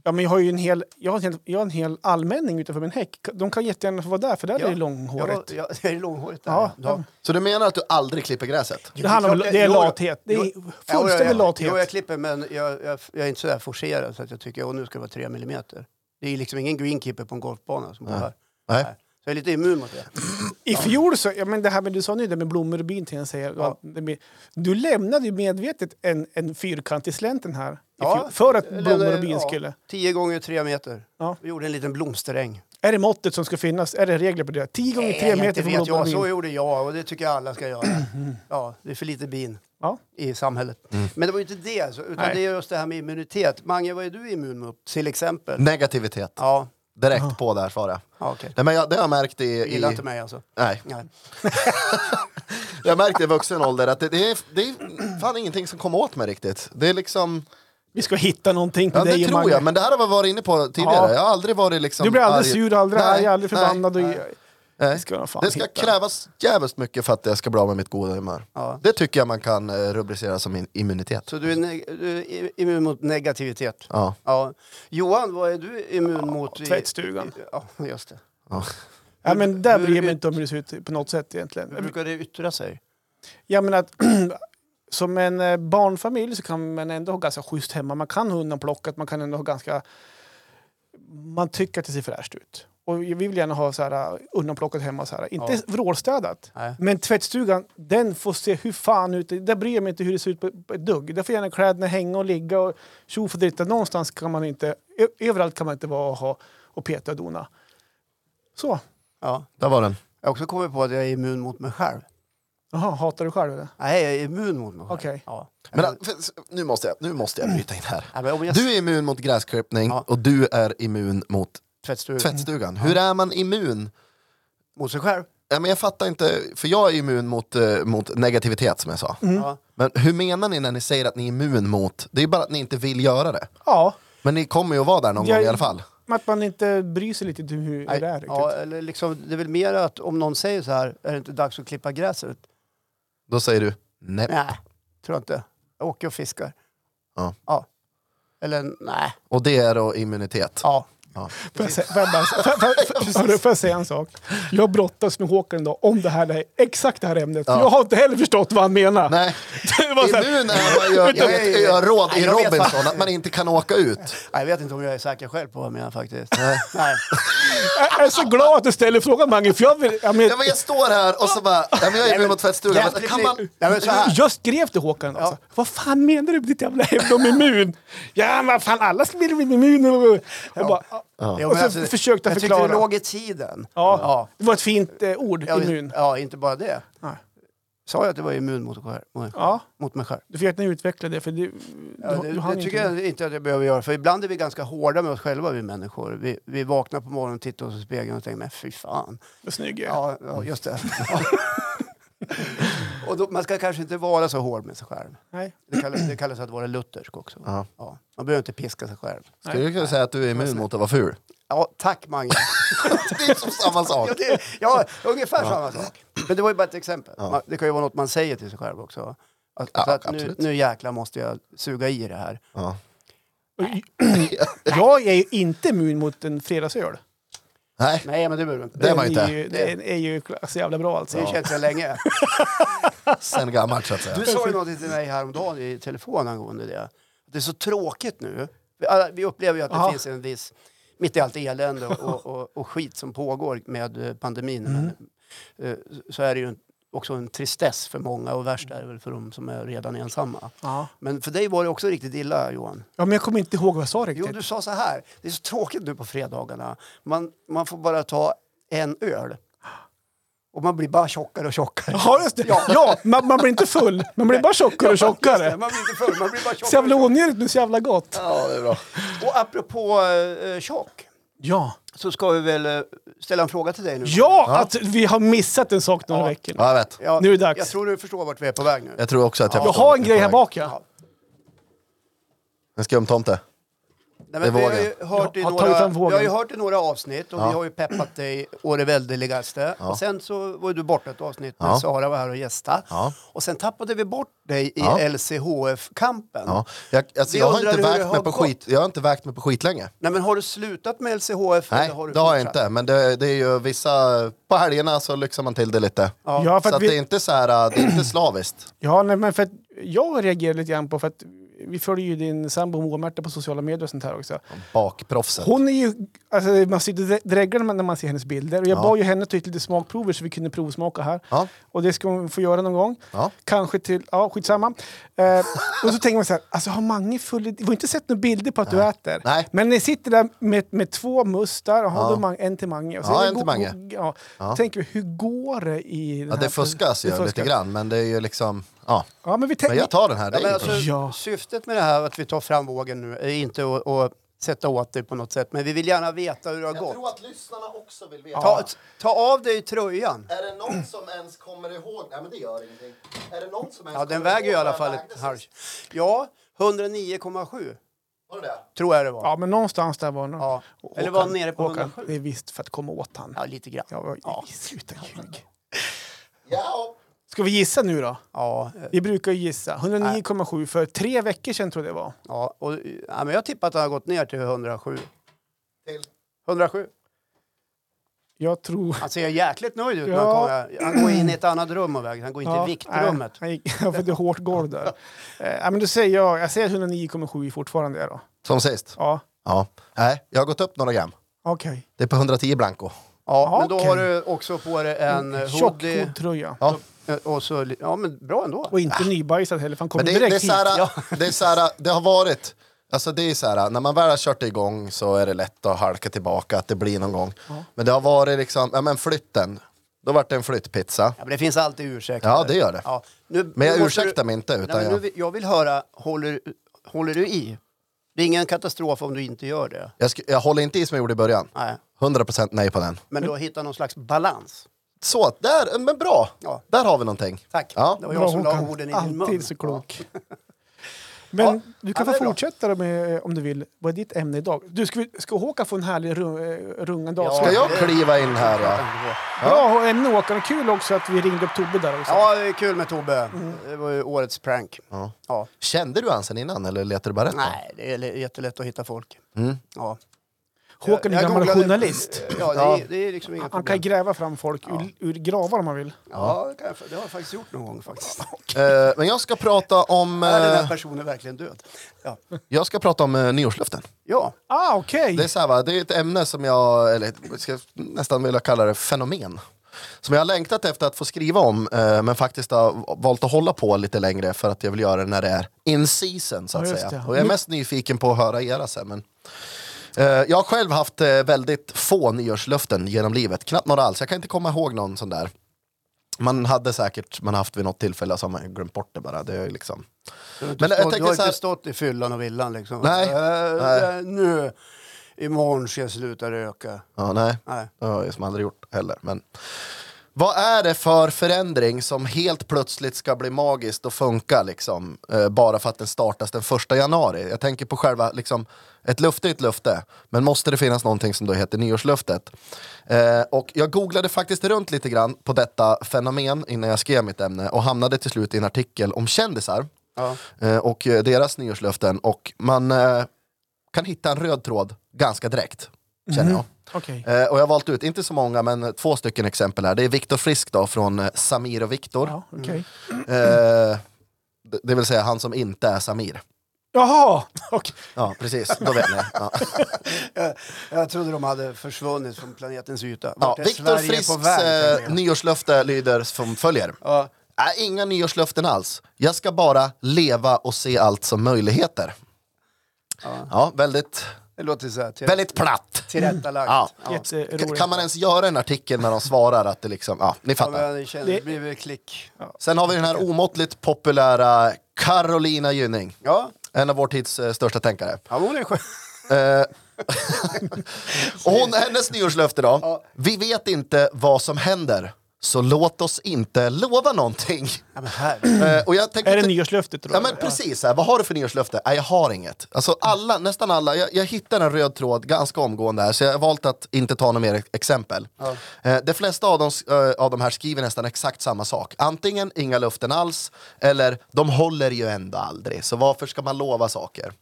[SPEAKER 2] Ja, men jag har ju en hel, jag har en hel, jag har en hel allmänning utanför min häck. De kan jättegärna få vara där, för där
[SPEAKER 1] Ja.
[SPEAKER 2] är det långhårigt.
[SPEAKER 1] Jag, var- jag, jag är långhårigt där.
[SPEAKER 2] Ja.
[SPEAKER 1] Ja.
[SPEAKER 3] Så du menar att du aldrig klipper gräset?
[SPEAKER 2] det handlar om
[SPEAKER 1] klart jag-
[SPEAKER 2] det är
[SPEAKER 1] jo, jag-
[SPEAKER 2] lathet. Det är
[SPEAKER 1] jo,
[SPEAKER 2] fullständig
[SPEAKER 1] jo, jag- Jo, jag
[SPEAKER 2] lathet.
[SPEAKER 1] klipper, men jag, jag, jag är inte så där forcerad så att jag tycker att nu ska det vara 3 millimeter. Det är liksom ingen greenkeeper på en golfbana som går här.
[SPEAKER 3] Nej.
[SPEAKER 1] Nej. Så jag är lite immun mot det.
[SPEAKER 2] I fjol så, ja, men det här med, du sa nu det med blommor och bin till jag säger. Ja. det med- Du lämnade ju medvetet en, en fyrkant i slänten här. I
[SPEAKER 1] Ja,
[SPEAKER 2] fjol, för att
[SPEAKER 1] eller-
[SPEAKER 2] blommor och bin
[SPEAKER 1] ja,
[SPEAKER 2] skulle.
[SPEAKER 1] Tio gånger tre meter.
[SPEAKER 2] Ja.
[SPEAKER 1] Vi gjorde en liten blomsteräng.
[SPEAKER 2] Är det måttet som ska finnas? Är det regler på det? 10 gånger 3
[SPEAKER 1] Nej, det
[SPEAKER 2] meter för
[SPEAKER 1] vet
[SPEAKER 2] blommor och
[SPEAKER 1] jag. Så
[SPEAKER 2] bin.
[SPEAKER 1] gjorde jag och det tycker jag alla ska göra. Ja, det är för lite bin
[SPEAKER 2] Ja.
[SPEAKER 1] i samhället.
[SPEAKER 3] Mm.
[SPEAKER 1] Men det var ju inte det, alltså, utan
[SPEAKER 2] Nej.
[SPEAKER 1] det är just det här med immunitet. Mange, vad är du immun mot till exempel?
[SPEAKER 3] Mm. Negativitet.
[SPEAKER 1] Ja,
[SPEAKER 3] Direkt på där svarar jag.
[SPEAKER 1] ja okej.
[SPEAKER 3] Nej, men jag, det har jag märkt i...
[SPEAKER 1] Du gillar inte
[SPEAKER 3] i
[SPEAKER 1] mig alltså?
[SPEAKER 3] nej.
[SPEAKER 1] Nej.
[SPEAKER 3] Jag har märkt i vuxen ålder att det, det, är, det är fan ingenting som kommer åt mig riktigt. Det är liksom...
[SPEAKER 2] Vi ska hitta någonting på
[SPEAKER 3] Ja, det
[SPEAKER 2] dig
[SPEAKER 3] tror jag, men det här har vi varit inne på tidigare.
[SPEAKER 2] Ja.
[SPEAKER 3] Jag har aldrig varit liksom...
[SPEAKER 2] Du blir aldrig
[SPEAKER 3] arg.
[SPEAKER 2] sur, aldrig
[SPEAKER 3] Nej,
[SPEAKER 2] arg, aldrig
[SPEAKER 3] nej,
[SPEAKER 2] förbannad. och-
[SPEAKER 3] nej.
[SPEAKER 2] Det ska jag fan
[SPEAKER 3] Det ska
[SPEAKER 2] hitta.
[SPEAKER 3] krävas jävligt mycket för att jag ska bli av med mitt goda humör.
[SPEAKER 1] Ja.
[SPEAKER 3] Det tycker jag man kan eh, rubricera som in- immunitet.
[SPEAKER 1] Så du är, neg- du är i- immun mot negativitet?
[SPEAKER 3] Ja.
[SPEAKER 1] Ja. Johan, vad är du immun mot? i-
[SPEAKER 2] tvättstugan.
[SPEAKER 1] Ja, just det.
[SPEAKER 3] Ja.
[SPEAKER 2] Ja, men där
[SPEAKER 1] Hur-
[SPEAKER 2] bryr jag mig
[SPEAKER 1] hur-
[SPEAKER 2] inte om hur det ser ut på något sätt egentligen.
[SPEAKER 1] Hur brukar det yttra sig?
[SPEAKER 2] Jag menar att som en eh, barnfamilj så kan man ändå ha ganska schysst hemma. Man kan ha undanplockat, man kan ändå ha ganska... Man tycker att det ser fräscht ut. Och vi vill gärna ha så här eh, undanplockat hemma, så här. inte
[SPEAKER 1] Ja.
[SPEAKER 2] vrålstädat.
[SPEAKER 1] Nej.
[SPEAKER 2] Men tvättstugan, den får se hur fan ut. Där bryr jag mig inte hur det ser ut på, på ett dugg. Där får gärna kläderna hänga och ligga och tjofaderitta. Någonstans kan man inte... ö- Överallt kan man inte vara och, ha, och peta och dona. Så.
[SPEAKER 1] Ja.
[SPEAKER 3] Där var den.
[SPEAKER 1] Jag har också kommit på att jag är immun mot mig själv.
[SPEAKER 2] Jaha, hatar du själv eller?
[SPEAKER 1] Nej, jag är immun mot mig själv.
[SPEAKER 2] Okej.
[SPEAKER 1] Ja.
[SPEAKER 3] Men, eh, för- s- nu, måste jag, nu måste jag bryta in här.
[SPEAKER 1] Ja, men om jag
[SPEAKER 3] Du är immun mot gräsklippning
[SPEAKER 1] Ja. Mm.
[SPEAKER 3] och du är immun mot
[SPEAKER 1] tvättstugan
[SPEAKER 3] tvättstugan. Hur är man immun?
[SPEAKER 1] mot sig själv.
[SPEAKER 2] Mm.
[SPEAKER 3] Ja, men jag fattar inte, för jag är immun mot, eh, mot negativitet som jag sa.
[SPEAKER 1] Ja.
[SPEAKER 3] Men hur menar ni när ni säger att ni är immun mot, det är bara att ni inte vill göra det.
[SPEAKER 2] Ja.
[SPEAKER 3] Men ni kommer ju att vara där någon
[SPEAKER 2] Jag-
[SPEAKER 3] gång i alla fall.
[SPEAKER 2] Men Att man inte bryr sig lite om hur, hur det är typ. riktigt.
[SPEAKER 1] ja, eller liksom, det är väl mer att om någon säger så här, är det inte dags att klippa gräset?
[SPEAKER 3] Då säger du nej.
[SPEAKER 1] Nej, tror jag inte. Jag åker och fiskar.
[SPEAKER 3] Ja.
[SPEAKER 1] ja. Eller nej.
[SPEAKER 3] Och det är då immunitet.
[SPEAKER 1] Ja.
[SPEAKER 2] Får jag, säga, får, jag bara, får, jag- får, jag- får, jag- får jag säga en sak? Jag brottas med Håkan idag om det här, det här exakt det här ämnet. För
[SPEAKER 3] Ja.
[SPEAKER 2] Jag har inte heller förstått vad han menar.
[SPEAKER 3] Nej,
[SPEAKER 2] Det var så här,
[SPEAKER 3] immun är man ju, jag
[SPEAKER 1] Utan-
[SPEAKER 3] är ju jag råd i
[SPEAKER 1] Nej, jag vet
[SPEAKER 3] Robinson,
[SPEAKER 1] faktiskt.
[SPEAKER 3] att man inte kan åka ut.
[SPEAKER 1] Nej, Jag vet inte om jag är säker själv på vad jag menar faktiskt. Nej. nej.
[SPEAKER 2] jag är så glad att du ställer frågan Mange, för jag, vill, jag, men,
[SPEAKER 3] Ja, men jag står här och så bara, ja, men jag är immun mot tvättstugan. Men Kan man...
[SPEAKER 1] Nej, men så här.
[SPEAKER 2] jag skrev till Håkan alltså. Vad fan menar du med ditt jävla hävd om immun? Ja, vad fan, alla ska bli immun. Och, och, bara,
[SPEAKER 1] Jo,
[SPEAKER 2] och
[SPEAKER 1] men
[SPEAKER 2] så
[SPEAKER 1] alltså,
[SPEAKER 2] försökte jag
[SPEAKER 1] jag tyckte det
[SPEAKER 2] förklara.
[SPEAKER 1] låg i tiden.
[SPEAKER 2] Ja, det var ett fint eh, ord,
[SPEAKER 1] Ja,
[SPEAKER 2] immun.
[SPEAKER 1] Ja, inte bara det.
[SPEAKER 2] Nej.
[SPEAKER 1] Sa jag att det var immun mot, mig själv-
[SPEAKER 2] Ja,
[SPEAKER 1] mot mig själv?
[SPEAKER 2] du får gärna utveckla det, för du,
[SPEAKER 1] Ja,
[SPEAKER 2] du,
[SPEAKER 1] det
[SPEAKER 2] du hann
[SPEAKER 1] det
[SPEAKER 2] inte.
[SPEAKER 1] tycker jag inte att jag behöver göra. För ibland är vi ganska hårda med oss själva, vi människor. Vi, vi vaknar på morgonen, tittar oss i spegeln och tänker, men fy fan.
[SPEAKER 2] Vad snygg jag är.
[SPEAKER 1] Ja, ja just det. Ja. och då, man ska kanske inte vara så hård med sig själv.
[SPEAKER 2] Nej.
[SPEAKER 1] Det kallas, det kallas att vara luthersk också.
[SPEAKER 3] Ja.
[SPEAKER 1] Ja. Man behöver inte piska sig själv.
[SPEAKER 3] Skulle du kunna säga att du är immun mot att vara ful?
[SPEAKER 1] Ja, tack Mange.
[SPEAKER 3] Det är som samma sak.
[SPEAKER 1] Ja, det, ja ungefär samma sak. Men det var ju bara ett exempel. Man, det kan ju vara något man säger till sig själv också. Att,
[SPEAKER 3] Ja,
[SPEAKER 1] så att nu,
[SPEAKER 3] absolut.
[SPEAKER 1] nu jäkla måste jag suga i det här.
[SPEAKER 3] Ja.
[SPEAKER 2] Jag är ju inte immun mot en fredagsöl.
[SPEAKER 3] Nej,
[SPEAKER 1] Nej, men det behöver du inte.
[SPEAKER 3] Det är man ju
[SPEAKER 2] Den
[SPEAKER 3] inte.
[SPEAKER 2] Ju, den är ju så jävla bra alltså.
[SPEAKER 1] Det har ju känt sedan länge.
[SPEAKER 3] sen gammalt så att säga.
[SPEAKER 1] Du sa ju någonting till mig häromdagen i telefon angående det. Det är så tråkigt nu. Vi- alla- Vi upplever ju att det
[SPEAKER 2] Ja.
[SPEAKER 1] finns en viss, mitt i allt elände och, och, och skit som pågår med eh, pandemin,
[SPEAKER 2] Mm.
[SPEAKER 1] men, eh, så är det ju en, också en tristess för många och värst är det väl för de som är redan ensamma.
[SPEAKER 2] Ja.
[SPEAKER 1] Men för dig var det också riktigt illa Johan.
[SPEAKER 2] ja, men jag kommer inte ihåg vad jag sa riktigt.
[SPEAKER 1] Jo, du sa så här, det är så tråkigt nu på fredagarna. Man, man får bara ta en öl. Och man blir bara tjockare och tjockare.
[SPEAKER 2] Ja, just det. Ja, man, man blir inte full. Man blir bara tjockare och tjockare.
[SPEAKER 1] Man blir inte full, man blir bara
[SPEAKER 2] Så
[SPEAKER 1] tjockare.
[SPEAKER 2] jävla onödigt men så jävla gott.
[SPEAKER 3] Ja, det är bra.
[SPEAKER 1] Och apropå eh, tjock
[SPEAKER 2] Ja.
[SPEAKER 1] så ska vi väl eh, ställa en fråga till dig nu.
[SPEAKER 2] Ja, att vi har missat en sak några veckor.
[SPEAKER 3] Ja, jag vet.
[SPEAKER 1] Ja,
[SPEAKER 2] nu är det dags.
[SPEAKER 1] Jag tror du förstår vart vi är på väg nu.
[SPEAKER 3] Jag tror också att jag...
[SPEAKER 2] Jag
[SPEAKER 3] förstår
[SPEAKER 2] har
[SPEAKER 3] vart
[SPEAKER 2] en
[SPEAKER 3] ni är
[SPEAKER 2] grej
[SPEAKER 3] på
[SPEAKER 2] här
[SPEAKER 3] väg.
[SPEAKER 2] bak ja.
[SPEAKER 3] En skumtomte.
[SPEAKER 1] Nej,
[SPEAKER 3] det är
[SPEAKER 1] men vi, har
[SPEAKER 3] vågen.
[SPEAKER 1] ju hört i
[SPEAKER 2] Jag har tagit
[SPEAKER 1] några,
[SPEAKER 2] fram
[SPEAKER 1] vi
[SPEAKER 2] vågen.
[SPEAKER 1] har ju hört i några avsnitt och vi har ju peppat dig å det väldigaste. Och sen så var ju du borta ett avsnitt när
[SPEAKER 3] Ja.
[SPEAKER 1] Sara var här och gästa.
[SPEAKER 3] Ja.
[SPEAKER 1] Och sen tappade vi bort dig i
[SPEAKER 3] Ja.
[SPEAKER 1] LCHF-kampen.
[SPEAKER 3] Ja. Jag, alltså,
[SPEAKER 1] Vi
[SPEAKER 3] jag, har
[SPEAKER 1] undrar
[SPEAKER 3] inte
[SPEAKER 1] hur det
[SPEAKER 3] vägt
[SPEAKER 1] har
[SPEAKER 3] mig på
[SPEAKER 1] gått.
[SPEAKER 3] skit, jag har inte vägt mig på skit länge.
[SPEAKER 1] Nej, men har du slutat med LCHF?
[SPEAKER 3] Nej,
[SPEAKER 1] eller har du
[SPEAKER 3] det har jag
[SPEAKER 1] fortsatt?
[SPEAKER 3] inte. Men det, det är ju vissa... På helgerna så lyxar man till det lite.
[SPEAKER 2] Ja,
[SPEAKER 3] Så
[SPEAKER 2] för
[SPEAKER 3] att
[SPEAKER 2] att
[SPEAKER 3] det är
[SPEAKER 2] vi,
[SPEAKER 3] inte så här, äh, det är inte slaviskt.
[SPEAKER 2] ja nej, men för att jag reagerar lite grann på för att vi följer ju din sambo Moa-Märta på sociala medier och sånt här också.
[SPEAKER 3] Bakproffset.
[SPEAKER 2] Hon är ju, alltså man sitter och dreglar när man ser hennes bilder. Och jag
[SPEAKER 3] Ja.
[SPEAKER 2] bad ju henne ta hit lite smakprover så vi kunde provsmaka här.
[SPEAKER 3] Ja.
[SPEAKER 2] Och det ska hon få göra någon gång.
[SPEAKER 3] Ja.
[SPEAKER 2] Kanske till, ja skitsamma. Eh, och så tänker man så här, alltså har Mange full... Vi har inte sett några bilder på att du äter.
[SPEAKER 3] Nej.
[SPEAKER 2] Men ni sitter där med, med två mustar, och har då Mange, en till Mange. Och
[SPEAKER 3] Ja,
[SPEAKER 2] är det
[SPEAKER 3] en
[SPEAKER 2] go-
[SPEAKER 3] till Mange.
[SPEAKER 2] go- Ja. Tänker vi, hur går det i den
[SPEAKER 3] Ja,
[SPEAKER 2] här-
[SPEAKER 3] det fuskas ju
[SPEAKER 2] det
[SPEAKER 3] lite grann, men det är ju liksom... Ja.
[SPEAKER 2] Ja, men vi
[SPEAKER 3] Men
[SPEAKER 2] tänker...
[SPEAKER 3] jag tar den här. Det
[SPEAKER 1] Ja, men
[SPEAKER 3] är
[SPEAKER 1] alltså,
[SPEAKER 3] inget-
[SPEAKER 2] Ja.
[SPEAKER 1] Syftet med det här att vi tar fram vågen nu är inte att, att sätta åt dig på något sätt, men vi vill gärna veta hur det har gått.
[SPEAKER 3] att lyssnarna också vill veta.
[SPEAKER 1] Ta, ta av dig tröjan.
[SPEAKER 3] Är det någon som ens kommer ihåg? Nej, men det gör ingenting. Är det någon som ens
[SPEAKER 1] Ja, den väger ju i alla fall ett halv... Ja, 109,7 tror jag det var.
[SPEAKER 2] Ja, men någonstans där var någon.
[SPEAKER 1] Ja.
[SPEAKER 2] Och
[SPEAKER 1] Eller var
[SPEAKER 2] Håkan-
[SPEAKER 1] han nere på
[SPEAKER 2] Håkan,
[SPEAKER 1] 107?
[SPEAKER 2] Det är visst för att komma åt han.
[SPEAKER 1] Ja, lite grann.
[SPEAKER 2] Ja,
[SPEAKER 1] Ja.
[SPEAKER 2] ja. Sluta ljug.
[SPEAKER 3] Ja.
[SPEAKER 2] Ska vi gissa nu då?
[SPEAKER 1] Ja, eh,
[SPEAKER 2] Vi brukar ju gissa. 109,7 för tre veckor sedan tror jag det var.
[SPEAKER 1] ja, och, eh, ja, men jag tippar att den har gått ner till 107.
[SPEAKER 3] Till?
[SPEAKER 1] 107.
[SPEAKER 2] Jag tror...
[SPEAKER 1] Han ser jäkligt nöjd ut. när
[SPEAKER 2] Ja.
[SPEAKER 1] Han, kommer, han går in i ett annat rum och väger. Han går inte
[SPEAKER 2] Ja,
[SPEAKER 1] i viktrummet.
[SPEAKER 2] nej, Han gick för det är hårt golv där. Eh, ja, men då säger jag, jag säger 109,7 fortfarande. jag Då.
[SPEAKER 3] Som sist?
[SPEAKER 2] Ja,
[SPEAKER 3] Ja. Nej, jag har gått upp några gram.
[SPEAKER 2] okej.
[SPEAKER 3] Det är på 110 blanco.
[SPEAKER 1] Ja, men då
[SPEAKER 2] okej.
[SPEAKER 1] har du också på dig en eh,
[SPEAKER 2] Tjock
[SPEAKER 1] hoodie.
[SPEAKER 2] hoodtröja.
[SPEAKER 3] Ja.
[SPEAKER 1] eh, Och så, li- ja, men bra ändå.
[SPEAKER 2] Och inte nybajsad heller, för han kommer
[SPEAKER 3] Men det, det,
[SPEAKER 2] direkt
[SPEAKER 3] är
[SPEAKER 2] hit.
[SPEAKER 3] så här, eh, det är så här, det har varit, alltså det är så här, när man väl har kört igång så är det lätt att halka tillbaka, att det blir någon gång. Men det har varit liksom, ja men flytten, då vart det en flyttpizza.
[SPEAKER 1] Ja, men det finns alltid ursäkter.
[SPEAKER 3] Ja, det gör det.
[SPEAKER 1] Ja, nu,
[SPEAKER 3] Men jag
[SPEAKER 1] nu måste
[SPEAKER 3] ursäktar mig inte, utan
[SPEAKER 1] nej, men
[SPEAKER 3] jag-
[SPEAKER 1] nu, vill- jag vill höra, håller, håller du i? Det är ingen katastrof om du inte gör det.
[SPEAKER 3] Jag, sk- jag håller inte i som jag gjorde i början.
[SPEAKER 1] Nej,
[SPEAKER 3] 100% nej på den.
[SPEAKER 1] men du har hittat någon slags balans.
[SPEAKER 3] Så, där, men bra!
[SPEAKER 1] Ja.
[SPEAKER 3] Där har vi någonting.
[SPEAKER 1] Tack.
[SPEAKER 3] Ja.
[SPEAKER 1] Det var
[SPEAKER 2] Bra,
[SPEAKER 1] jag som la
[SPEAKER 2] Håkan.
[SPEAKER 1] orden i din mun.
[SPEAKER 2] Alltid så klok. Men
[SPEAKER 1] Ja,
[SPEAKER 2] du kan
[SPEAKER 1] ja, det
[SPEAKER 2] få
[SPEAKER 1] är bra.
[SPEAKER 2] fortsätta då med, eh, om du vill. Vad är ditt ämne idag? Du, ska, vi, ska Håkan få en härlig ru, eh, rungande
[SPEAKER 1] Ja.
[SPEAKER 2] avslutning?
[SPEAKER 3] Ska jag kliva in här ja?
[SPEAKER 2] Bra ämne Håkan, och kul också att vi ringde upp Tobbe där också.
[SPEAKER 1] Ja, det är kul med Tobbe. Det var ju årets prank.
[SPEAKER 3] Ja.
[SPEAKER 1] Ja.
[SPEAKER 3] Kände du han sen innan eller letade du bara rätt?
[SPEAKER 1] Nej, det är l- jättelätt att hitta folk.
[SPEAKER 3] Mm.
[SPEAKER 1] Ja.
[SPEAKER 2] Håkan är
[SPEAKER 1] Jag
[SPEAKER 2] gammal
[SPEAKER 1] googlade-
[SPEAKER 2] journalist.
[SPEAKER 1] Ja, det är, det är liksom inga
[SPEAKER 2] Han kan
[SPEAKER 1] problem.
[SPEAKER 2] gräva fram folk ur, ur gravar om han vill.
[SPEAKER 1] Ja, det, kan jag, det har jag faktiskt gjort någon gång faktiskt.
[SPEAKER 3] Eh, men jag ska prata om,
[SPEAKER 1] Är den här
[SPEAKER 3] eh,
[SPEAKER 1] personen verkligen död? Ja.
[SPEAKER 3] jag ska prata om eh, nyårslöften.
[SPEAKER 1] ja.
[SPEAKER 2] Ah, okej!
[SPEAKER 3] Det är, så här, va? det är ett ämne som jag, eller jag ska nästan vilja kalla det fenomen. Som jag har längtat efter att få skriva om, eh, men faktiskt har valt att hålla på lite längre för att jag vill göra det när det är in season så att
[SPEAKER 2] Ja, just
[SPEAKER 3] säga.
[SPEAKER 2] det.
[SPEAKER 3] Och jag är
[SPEAKER 2] Nu-
[SPEAKER 3] mest nyfiken på att höra era sen. Men, eh, jag har själv haft eh, väldigt få nyårslöften genom livet, knappt några alls. Jag kan inte komma ihåg någon sån där. Man hade säkert, man har haft vid något tillfälle som man glömt bort det bara. Det är liksom...
[SPEAKER 1] Men
[SPEAKER 3] Men
[SPEAKER 1] du,
[SPEAKER 3] jag
[SPEAKER 1] stå,
[SPEAKER 3] tänker
[SPEAKER 1] du har
[SPEAKER 3] så här-
[SPEAKER 1] inte stått i fyllan och villan liksom?
[SPEAKER 3] Nej.
[SPEAKER 1] Eh,
[SPEAKER 3] Nej.
[SPEAKER 1] Nu, imorgon ska jag sluta röka.
[SPEAKER 3] Ja, nej.
[SPEAKER 1] Nej.
[SPEAKER 3] Det har jag som aldrig gjort heller. Men vad är det för förändring som helt plötsligt ska bli magiskt och funka liksom? Eh, bara för att den startas den första januari? Jag tänker på själva, liksom, ett löfte är ett löfte. Men måste det finnas någonting som då heter nyårslöftet? Eh, och jag googlade faktiskt runt lite grann på detta fenomen innan jag skrev mitt ämne och hamnade till slut i en artikel om kändisar
[SPEAKER 1] Ja.
[SPEAKER 3] eh, och eh, deras nyårslöften. Och man eh, kan hitta en röd tråd ganska direkt, känner jag.
[SPEAKER 2] Okej.
[SPEAKER 3] Eh, och jag har valt ut, inte så många, men två stycken exempel här. Det är Viktor Frisk då, från eh, Samir och Viktor.
[SPEAKER 2] Ja, okej.
[SPEAKER 3] Eh, d- det vill säga han som inte är Samir.
[SPEAKER 2] Jaha! okej.
[SPEAKER 3] Ja, precis. Då vet ni. Ja.
[SPEAKER 1] Jag, jag trodde de hade försvunnit från planetens yta.
[SPEAKER 3] Ja,
[SPEAKER 1] Vart är
[SPEAKER 3] Viktor
[SPEAKER 1] Sverige på
[SPEAKER 3] Frisks
[SPEAKER 1] väg,
[SPEAKER 3] eh,
[SPEAKER 1] tänker jag?
[SPEAKER 3] nyårslöfte lyder som följer.
[SPEAKER 1] Ja.
[SPEAKER 3] Nej, inga nyårslöften alls. Jag ska bara leva och se allt som möjligheter. Ja, väldigt,
[SPEAKER 1] Det låter så här till,
[SPEAKER 3] väldigt platt.
[SPEAKER 1] tillrättalagt.
[SPEAKER 3] Ja.
[SPEAKER 2] Jätteroligt.
[SPEAKER 3] Kan man ens göra en artikel när de svarar att det liksom, ja, ni
[SPEAKER 1] Ja,
[SPEAKER 3] fattar.
[SPEAKER 1] men det, känns,
[SPEAKER 2] Det-
[SPEAKER 1] det blir väl klick.
[SPEAKER 3] Sen har vi den här omåttligt populära Carolina Gynning.
[SPEAKER 1] Ja,
[SPEAKER 3] En av vår tids eh, största tänkare.
[SPEAKER 1] ja men hon är skön.
[SPEAKER 3] Eh, och hon, hennes nyårslöfte då.
[SPEAKER 1] Ja.
[SPEAKER 3] Vi vet inte vad som händer, så låt oss inte lova någonting.
[SPEAKER 1] Ja, men här.
[SPEAKER 3] Eh, och jag tänker
[SPEAKER 2] Är det
[SPEAKER 3] inte-
[SPEAKER 2] nyårslöftet? tror
[SPEAKER 3] Ja
[SPEAKER 2] jag?
[SPEAKER 3] men precis, så här, vad har du för nyårslöfte? Nej jag har inget. Alltså alla, nästan alla, jag, jag hittar en röd tråd ganska omgående här så jag har valt att inte ta några mer ex- exempel. Eh, de flesta av dem, eh, av de här skriver nästan exakt samma sak. Antingen inga löften alls, eller de håller ju ändå aldrig. Så varför ska man lova saker?